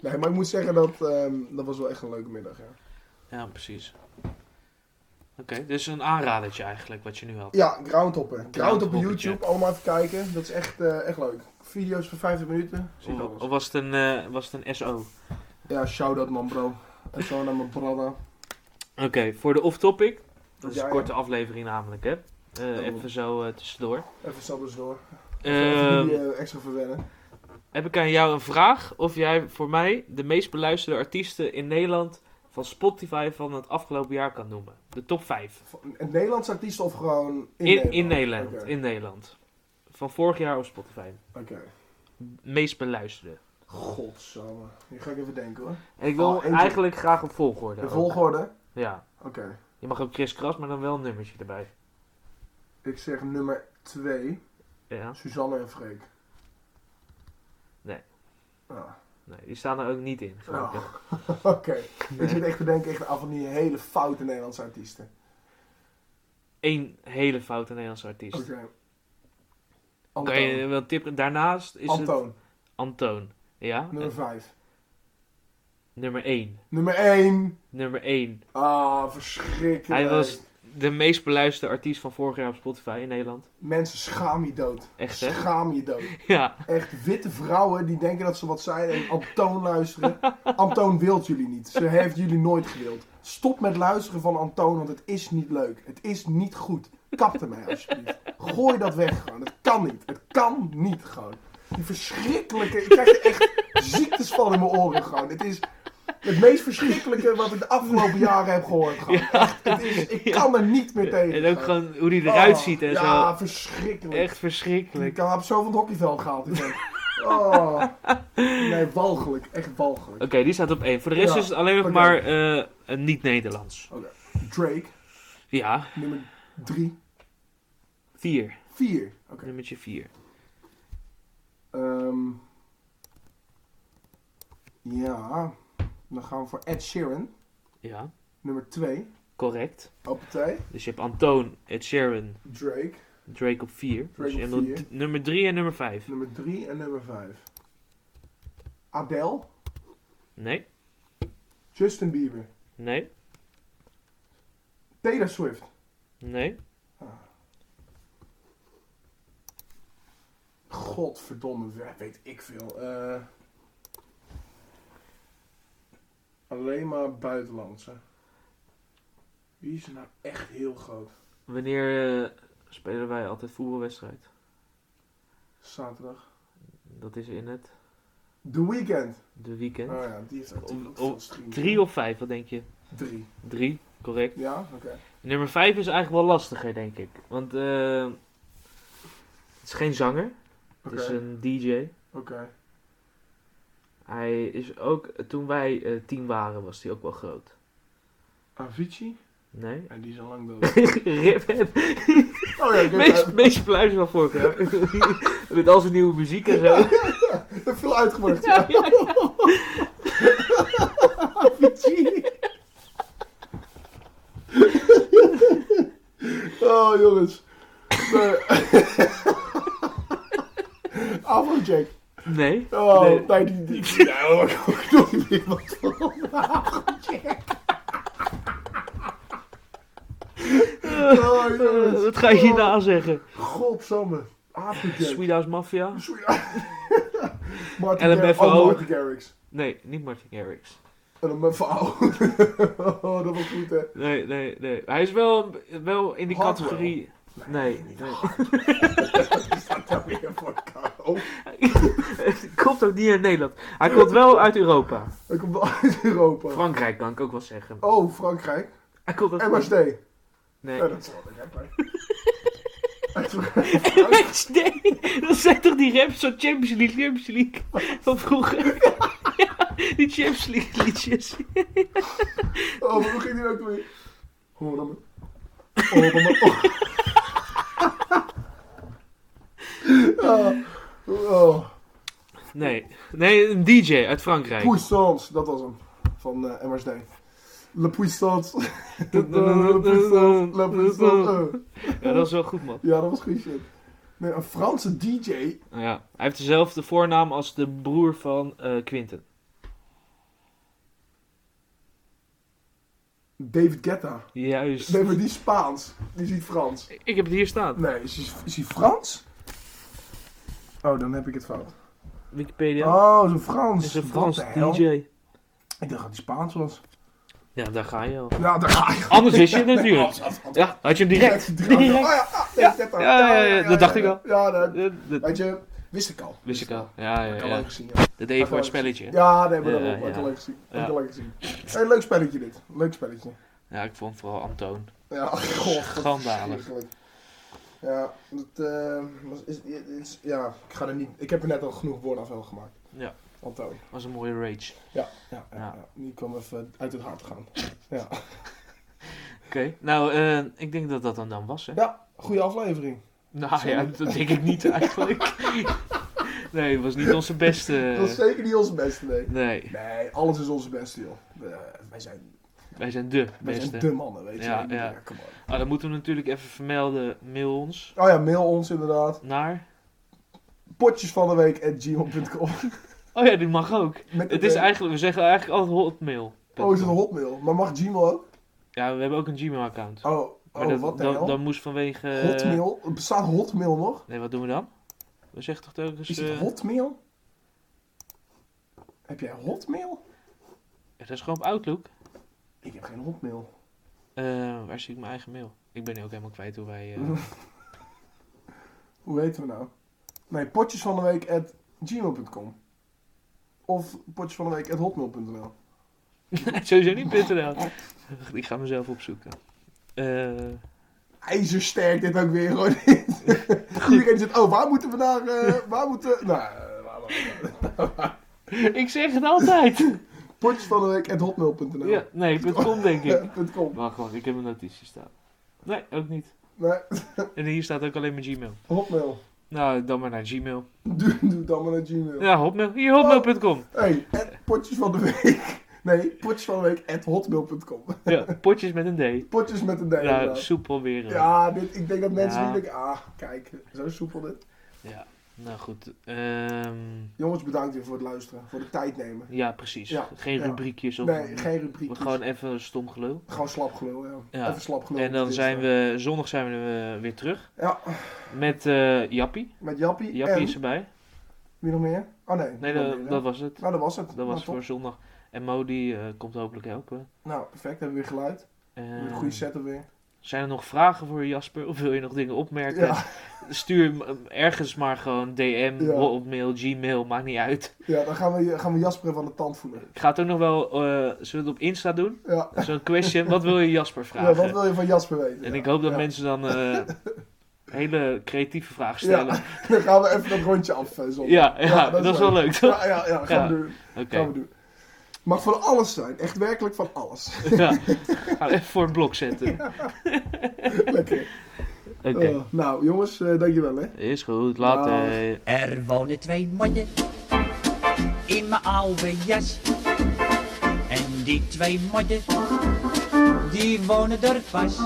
[SPEAKER 3] Nee, maar ik moet zeggen dat ehm, dat was wel echt een leuke middag. Ja,
[SPEAKER 2] Ja, precies. Oké, dus een aanradertje eigenlijk, wat je nu had.
[SPEAKER 3] ja Groundhopper. Groundhopper
[SPEAKER 2] Groundhopper,
[SPEAKER 3] YouTube, allemaal even kijken. Dat is echt, eh, echt leuk. Video's van 50 minuten. Zie je
[SPEAKER 2] Of,
[SPEAKER 3] alles.
[SPEAKER 2] of was het een, eh, was het een SO?
[SPEAKER 3] Ja, shout-out man bro. En zo naar mijn brada.
[SPEAKER 2] Oké, voor de off-topic. Dat
[SPEAKER 3] Dat
[SPEAKER 2] is een
[SPEAKER 3] jij,
[SPEAKER 2] korte aflevering namelijk, hè? Eh,
[SPEAKER 3] Dat
[SPEAKER 2] even
[SPEAKER 3] moet.
[SPEAKER 2] zo eh, tussendoor.
[SPEAKER 3] Even sabbers door.
[SPEAKER 2] Ehm,
[SPEAKER 3] Even jullie eh, extra verwennen.
[SPEAKER 2] heb ik aan jou een vraag? Of jij voor mij de meest beluisterde artiesten in Nederland van Spotify van het afgelopen jaar kan noemen? De top 5.
[SPEAKER 3] Een Nederlandse artiest of gewoon in,
[SPEAKER 2] In, in Nederland.
[SPEAKER 3] Nederland?
[SPEAKER 2] In Nederland,
[SPEAKER 3] Oké.
[SPEAKER 2] Van vorig jaar op Spotify.
[SPEAKER 3] Oké.
[SPEAKER 2] Meest beluisterde.
[SPEAKER 3] Godsamme. Nu ga ik even denken hoor.
[SPEAKER 2] En ik wil
[SPEAKER 3] Oh, eentje.
[SPEAKER 2] eigenlijk graag op volgorde.
[SPEAKER 3] De
[SPEAKER 2] ook.
[SPEAKER 3] volgorde?
[SPEAKER 2] Ja.
[SPEAKER 3] Oké.
[SPEAKER 2] Je mag ook Chris Kras, maar dan wel een nummertje erbij.
[SPEAKER 3] Ik zeg nummer 2.
[SPEAKER 2] Ja.
[SPEAKER 3] Suzanne en Freek.
[SPEAKER 2] Nee.
[SPEAKER 3] Ah,
[SPEAKER 2] Nee, die staan er ook niet in. gelukkig.
[SPEAKER 3] Oké.
[SPEAKER 2] *laughs*
[SPEAKER 3] Ik
[SPEAKER 2] Nee.
[SPEAKER 3] zit echt te denken echt aan van die hele foute Nederlandse artiesten.
[SPEAKER 2] Eén hele foute Nederlandse artiest.
[SPEAKER 3] Oké. Antoon.
[SPEAKER 2] Kan je wel tippen? Daarnaast is het...
[SPEAKER 3] Antoon,
[SPEAKER 2] Antoon. Ja?
[SPEAKER 3] nummer
[SPEAKER 2] Eh,
[SPEAKER 3] 5.
[SPEAKER 2] nummer 1.
[SPEAKER 3] Nummer 1.
[SPEAKER 2] Nummer 1.
[SPEAKER 3] Ah, verschrikkelijk.
[SPEAKER 2] Hij was de meest beluisterde artiest van vorig jaar op Spotify in Nederland.
[SPEAKER 3] Mensen, schaam je dood.
[SPEAKER 2] Echt, hè?
[SPEAKER 3] Schaam je dood.
[SPEAKER 2] Ja.
[SPEAKER 3] Echt witte vrouwen die denken dat ze wat zijn en Antoon
[SPEAKER 2] *laughs*
[SPEAKER 3] luisteren. Antoon wilt jullie niet. Ze heeft jullie nooit gewild. Stop met luisteren van Antoon, want het is niet leuk. Het is niet goed. Kap ermee alsjeblieft. Gooi dat weg gewoon. Het kan niet. Het kan niet gewoon. Die verschrikkelijke... Ik krijg er echt ziektes van in mijn oren gewoon. Het is het meest verschrikkelijke wat ik de afgelopen jaren heb gehoord gewoon. Echt, het is, ik kan er niet meer tegen.
[SPEAKER 2] En ook gewoon hoe hij eruit ziet en
[SPEAKER 3] Oh, ja, Ja,
[SPEAKER 2] zo.
[SPEAKER 3] verschrikkelijk.
[SPEAKER 2] Echt
[SPEAKER 3] Ik
[SPEAKER 2] verschrikkelijk.
[SPEAKER 3] kan heb zo van het hockeyveld gehaald. die vent. Oh. Nee, walgelijk. Echt walgelijk.
[SPEAKER 2] Oké, die staat op 1. Voor de rest
[SPEAKER 3] Ja,
[SPEAKER 2] is het alleen nog
[SPEAKER 3] oké.
[SPEAKER 2] maar eh, een niet-Nederlands.
[SPEAKER 3] Drake,
[SPEAKER 2] Ja.
[SPEAKER 3] nummer 3.
[SPEAKER 2] 4.
[SPEAKER 3] 4. Oké.
[SPEAKER 2] Nummertje 4.
[SPEAKER 3] Ehm, Ja, dan gaan we voor Ed Sheeran,
[SPEAKER 2] Ja,
[SPEAKER 3] nummer 2.
[SPEAKER 2] correct.
[SPEAKER 3] Op 2.
[SPEAKER 2] Dus je hebt Antoon, Ed Sheeran,
[SPEAKER 3] Drake,
[SPEAKER 2] Drake op 4.
[SPEAKER 3] Drake
[SPEAKER 2] Dus je
[SPEAKER 3] op
[SPEAKER 2] hebt nog
[SPEAKER 3] vier.
[SPEAKER 2] d- nummer 3 en nummer 5.
[SPEAKER 3] nummer 3 en nummer 5. Adele,
[SPEAKER 2] Nee,
[SPEAKER 3] Justin Bieber,
[SPEAKER 2] nee,
[SPEAKER 3] Taylor Swift.
[SPEAKER 2] nee.
[SPEAKER 3] Godverdomme, we- weet ik veel. Eh, alleen maar buitenlandse. Wie is er nou echt heel groot?
[SPEAKER 2] Wanneer eh, spelen wij altijd voetbalwedstrijd?
[SPEAKER 3] Zaterdag.
[SPEAKER 2] Dat is in het
[SPEAKER 3] The Weeknd.
[SPEAKER 2] de weekend.
[SPEAKER 3] Oh ja, die heeft natuurlijk
[SPEAKER 2] Om-
[SPEAKER 3] ook veel
[SPEAKER 2] om-
[SPEAKER 3] streams.
[SPEAKER 2] 3 of 5, wat denk je?
[SPEAKER 3] Drie.
[SPEAKER 2] 3, correct.
[SPEAKER 3] Ja, oké.
[SPEAKER 2] Nummer 5 is eigenlijk wel lastiger, denk ik. Want eh, het is geen zanger, het
[SPEAKER 3] Oké,
[SPEAKER 2] is eh, een DJ.
[SPEAKER 3] oké.
[SPEAKER 2] Hij is ook, toen wij eh tien waren, was hij ook wel groot.
[SPEAKER 3] Avicii?
[SPEAKER 2] Nee? *laughs*
[SPEAKER 3] En die is al lang dood.
[SPEAKER 2] Rip hem.
[SPEAKER 3] Oh ja, ik heb
[SPEAKER 2] Meest, meest pluis van vorig jaar. *laughs* Met al zijn nieuwe muziek en zo.
[SPEAKER 3] heb *laughs* veel uitgebracht. Ja, Avicii. *laughs* oh, jongens. Nee. *laughs* Afrojack. *laughs*
[SPEAKER 2] Nee?
[SPEAKER 3] Oh,
[SPEAKER 2] Nee.
[SPEAKER 3] nee, die... die nou, hoor, *laughs* ik doe niet meer wat van. Afrojack. Oh,
[SPEAKER 2] Eh,
[SPEAKER 3] jongens.
[SPEAKER 2] wat ga je
[SPEAKER 3] Oh.
[SPEAKER 2] hierna zeggen?
[SPEAKER 3] Godsamme. Afrojack.
[SPEAKER 2] Sweet House Mafia?
[SPEAKER 3] Sorry. *laughs* Martin
[SPEAKER 2] LMFAO.
[SPEAKER 3] Garrix. Oh, Martin Garrix.
[SPEAKER 2] Nee, niet Martin Garrix.
[SPEAKER 3] LMFAO. *laughs* oh, dat was goed, hè. *laughs*
[SPEAKER 2] Nee, nee, nee. Hij is wel, wel in die
[SPEAKER 3] Hardwell.
[SPEAKER 2] categorie... Nee,
[SPEAKER 3] niet
[SPEAKER 2] nee.
[SPEAKER 3] Wat is dat nou weer voor kou?
[SPEAKER 2] *laughs* Komt ook niet uit Nederland. Hij komt wel uit Europa.
[SPEAKER 3] Hij komt wel uit Europa.
[SPEAKER 2] Frankrijk kan ik ook wel zeggen.
[SPEAKER 3] oh, Frankrijk.
[SPEAKER 2] Hij komt uit
[SPEAKER 3] MSD.
[SPEAKER 2] Frankrijk.
[SPEAKER 3] Nee.
[SPEAKER 2] Nee.
[SPEAKER 3] Eh, dat zal ik hebben. Uit Frankrijk.
[SPEAKER 2] MSD? Dat zijn toch die raps van Champions League, Champions League van
[SPEAKER 3] *laughs*
[SPEAKER 2] vroeger? Ja, die Champions League liedjes.
[SPEAKER 3] *laughs* Oh, maar hoe ging die ook weer? Hoor dan maar. Hoor dan maar. Oh. Oh.
[SPEAKER 2] Nee, nee, een DJ uit Frankrijk.
[SPEAKER 3] Puissance, dat was hem. Van eh, MSD. Le
[SPEAKER 2] *laughs*
[SPEAKER 3] Puissance.
[SPEAKER 2] Du- du- du-
[SPEAKER 3] Le Puissance. Le Puissance. eh.
[SPEAKER 2] Ja, dat is wel goed, man.
[SPEAKER 3] Ja, dat was goed shit. Nee, een Franse DJ.
[SPEAKER 2] Nou Ja, hij heeft dezelfde voornaam als de broer van eh, Quinten.
[SPEAKER 3] David Guetta.
[SPEAKER 2] Juist.
[SPEAKER 3] Nee, maar die is Spaans. Die is niet Frans.
[SPEAKER 2] Ik heb het hier staan.
[SPEAKER 3] Nee, is hij, is hij Frans? Oh, dan heb ik het fout.
[SPEAKER 2] Wikipedia.
[SPEAKER 3] Oh, is een Frans.
[SPEAKER 2] is een
[SPEAKER 3] Wat
[SPEAKER 2] Frans
[SPEAKER 3] de hel?
[SPEAKER 2] DJ.
[SPEAKER 3] Ik dacht dat hij Spaans was.
[SPEAKER 2] Ja, daar ga je al.
[SPEAKER 3] Ja, daar ga je.
[SPEAKER 2] Anders wist je het natuurlijk. Ja, had je hem direct.
[SPEAKER 3] Direct. Oh ja, ah, nee, Guetta.
[SPEAKER 2] Ja, ja, ja, dat dacht ik al.
[SPEAKER 3] Ja, dat
[SPEAKER 2] Eh, dat
[SPEAKER 3] weet je, wist ik al.
[SPEAKER 2] wist ik al. Ja, ja,
[SPEAKER 3] Ik had al
[SPEAKER 2] ja.
[SPEAKER 3] lang gezien, ja.
[SPEAKER 2] Dat deed je voor het spelletje.
[SPEAKER 3] Ja, nee, maar
[SPEAKER 2] Ja,
[SPEAKER 3] dat heb
[SPEAKER 2] ja.
[SPEAKER 3] ik al leuk gezien. Heb
[SPEAKER 2] Ja.
[SPEAKER 3] ik al leuk gezien. Hey, leuk spelletje dit. Leuk spelletje.
[SPEAKER 2] Ja, ik vond vooral Antoon.
[SPEAKER 3] Ja, *laughs* god.
[SPEAKER 2] Schandalig.
[SPEAKER 3] verschrikkelijk. Ja, dat, eh, was- is, is- ja, ik ga er niet... Ik heb er net al genoeg woorden aan gemaakt.
[SPEAKER 2] Ja.
[SPEAKER 3] Antoon.
[SPEAKER 2] was een mooie rage.
[SPEAKER 3] Ja, ja, ja,
[SPEAKER 2] Ja.
[SPEAKER 3] ja. Die kwam even uit het hart gaan. Ja.
[SPEAKER 2] Oké, nou, eh, ik denk dat dat dan, dan was, hè?
[SPEAKER 3] Ja, goede aflevering.
[SPEAKER 2] Nou ja, dat denk ik niet
[SPEAKER 3] *laughs*
[SPEAKER 2] eigenlijk. nee, het was niet onze
[SPEAKER 3] Dat is
[SPEAKER 2] beste.
[SPEAKER 3] zeker niet onze beste, nee.
[SPEAKER 2] Nee,
[SPEAKER 3] Nee, alles is onze beste, joh. Eh, wij zijn,
[SPEAKER 2] wij zijn de
[SPEAKER 3] wij zijn
[SPEAKER 2] beste.
[SPEAKER 3] de mannen, weet je.
[SPEAKER 2] Ja,
[SPEAKER 3] wel.
[SPEAKER 2] ja.
[SPEAKER 3] come on.
[SPEAKER 2] Ah, dan moeten we natuurlijk even vermelden, mail ons
[SPEAKER 3] Oh ja, mail ons inderdaad.
[SPEAKER 2] naar...
[SPEAKER 3] Potjes van de week at gmail.com.
[SPEAKER 2] Oh ja, die mag ook.
[SPEAKER 3] Met-
[SPEAKER 2] Het is
[SPEAKER 3] eh,
[SPEAKER 2] eigenlijk, we zeggen eigenlijk altijd hotmail.
[SPEAKER 3] Oh, is het een hotmail? Maar mag Gmail ook?
[SPEAKER 2] Ja, we hebben ook een Gmail-account.
[SPEAKER 3] Oh, oh
[SPEAKER 2] Maar dat,
[SPEAKER 3] wat de
[SPEAKER 2] dan,
[SPEAKER 3] hel?
[SPEAKER 2] dan moest vanwege... eh,
[SPEAKER 3] hotmail? Bestaat hotmail nog?
[SPEAKER 2] Nee, wat doen we dan? We zeggen toch telkens...
[SPEAKER 3] Is het
[SPEAKER 2] eh,
[SPEAKER 3] hotmail? Heb jij hotmail?
[SPEAKER 2] Het is gewoon op Outlook.
[SPEAKER 3] Ik heb geen hotmail.
[SPEAKER 2] Eh, waar zie ik mijn eigen mail? Ik ben nu ook helemaal kwijt hoe wij... eh,
[SPEAKER 3] *laughs*
[SPEAKER 2] *laughs*
[SPEAKER 3] Hoe heten we nou? Nee, potjes van de week at gmail.com. Of potjes van de week at hotmail.nl.
[SPEAKER 2] Sowieso niet.nl. Ik ga mezelf opzoeken. Eh, *laughs*
[SPEAKER 3] IJzersterk dit ook weer hoor. *laughs* Iedereen zegt, oh waar moeten we naar, eh, waar moeten... Nou, eh, waar- waar- waar.
[SPEAKER 2] ik zeg het
[SPEAKER 3] *laughs*
[SPEAKER 2] altijd.
[SPEAKER 3] potjes van de week at hotmail.nl.
[SPEAKER 2] Ja, nee, het komt denk
[SPEAKER 3] *laughs*
[SPEAKER 2] ik.
[SPEAKER 3] Eh, punt com.
[SPEAKER 2] Wacht, wacht, ik heb een notitie staan. Nee, ook niet.
[SPEAKER 3] Nee,
[SPEAKER 2] En hier staat ook alleen mijn Gmail.
[SPEAKER 3] hotmail.
[SPEAKER 2] Nou, dan maar naar Gmail.
[SPEAKER 3] Doe, doe dan maar naar Gmail.
[SPEAKER 2] Ja, hotmail. Hier,
[SPEAKER 3] *laughs*
[SPEAKER 2] hotmail.com.
[SPEAKER 3] Hey, at potjes van de week. *laughs* Nee, potjes van de week at hotmail.com.
[SPEAKER 2] Ja, potjes met een D.
[SPEAKER 3] Potjes met een D.
[SPEAKER 2] Nou,
[SPEAKER 3] inderdaad.
[SPEAKER 2] soepel weer. hè.
[SPEAKER 3] Ja, dit, ik denk dat mensen
[SPEAKER 2] Ja.
[SPEAKER 3] nu denken, ah, kijk, zo soepel dit.
[SPEAKER 2] Ja, nou goed. ehm,
[SPEAKER 3] Jongens, bedankt weer voor het luisteren, voor de tijd nemen.
[SPEAKER 2] ja, precies.
[SPEAKER 3] Ja,
[SPEAKER 2] Geen
[SPEAKER 3] ja.
[SPEAKER 2] rubriekjes of...
[SPEAKER 3] Nee, geen rubriek.
[SPEAKER 2] Gewoon even stom gelul.
[SPEAKER 3] Gewoon slap gelul, ja.
[SPEAKER 2] Ja.
[SPEAKER 3] Even slap gelul.
[SPEAKER 2] En dan
[SPEAKER 3] Dit,
[SPEAKER 2] zijn
[SPEAKER 3] eh,
[SPEAKER 2] we... Zondag zijn we eh, weer terug.
[SPEAKER 3] Ja,
[SPEAKER 2] Met eh, Jappie.
[SPEAKER 3] met Jappie.
[SPEAKER 2] Jappie
[SPEAKER 3] en,
[SPEAKER 2] is erbij.
[SPEAKER 3] wie nog meer? Oh nee.
[SPEAKER 2] Nee,
[SPEAKER 3] nog
[SPEAKER 2] dat,
[SPEAKER 3] meer,
[SPEAKER 2] dat
[SPEAKER 3] hè?
[SPEAKER 2] was het.
[SPEAKER 3] Nou, dat was het.
[SPEAKER 2] Dat
[SPEAKER 3] Nou,
[SPEAKER 2] was
[SPEAKER 3] top.
[SPEAKER 2] voor zondag. En Mo die eh, komt hopelijk helpen.
[SPEAKER 3] Nou, perfect. Hebben we weer geluid. Weer
[SPEAKER 2] Eh,
[SPEAKER 3] een goede setup weer.
[SPEAKER 2] Zijn er nog vragen voor Jasper? Of wil je nog dingen opmerken?
[SPEAKER 3] Ja,
[SPEAKER 2] Stuur hem, eh, ergens maar gewoon DM,
[SPEAKER 3] Ja.
[SPEAKER 2] hotmail, gmail, maakt niet uit.
[SPEAKER 3] ja, dan gaan we, gaan we Jasper even aan de tand voelen.
[SPEAKER 2] Ik ga het ook nog wel, eh, zullen we het op Insta doen?
[SPEAKER 3] Ja.
[SPEAKER 2] Zo'n question, wat wil je Jasper
[SPEAKER 3] ja,
[SPEAKER 2] vragen?
[SPEAKER 3] wat wil je van Jasper weten?
[SPEAKER 2] en
[SPEAKER 3] Ja.
[SPEAKER 2] ik hoop dat
[SPEAKER 3] Ja.
[SPEAKER 2] mensen dan eh,
[SPEAKER 3] *laughs*
[SPEAKER 2] hele creatieve vragen stellen. Ja,
[SPEAKER 3] Dan gaan we even dat rondje af. eh, zondag.
[SPEAKER 2] ja, dat, is wel leuk toch?
[SPEAKER 3] Ja, ja, ja, gaan,
[SPEAKER 2] Ja.
[SPEAKER 3] We doen.
[SPEAKER 2] Oké,
[SPEAKER 3] gaan we doen. Mag van alles zijn. Echt werkelijk van alles. *laughs*
[SPEAKER 2] ja. gaan we even voor een blok zetten.
[SPEAKER 3] Lekker.
[SPEAKER 2] Oké,
[SPEAKER 3] Eh, nou, jongens, eh, dankjewel hè.
[SPEAKER 2] is goed, later.
[SPEAKER 4] Er wonen twee mannen in mijn oude jas. En die twee mannen, die wonen er pas.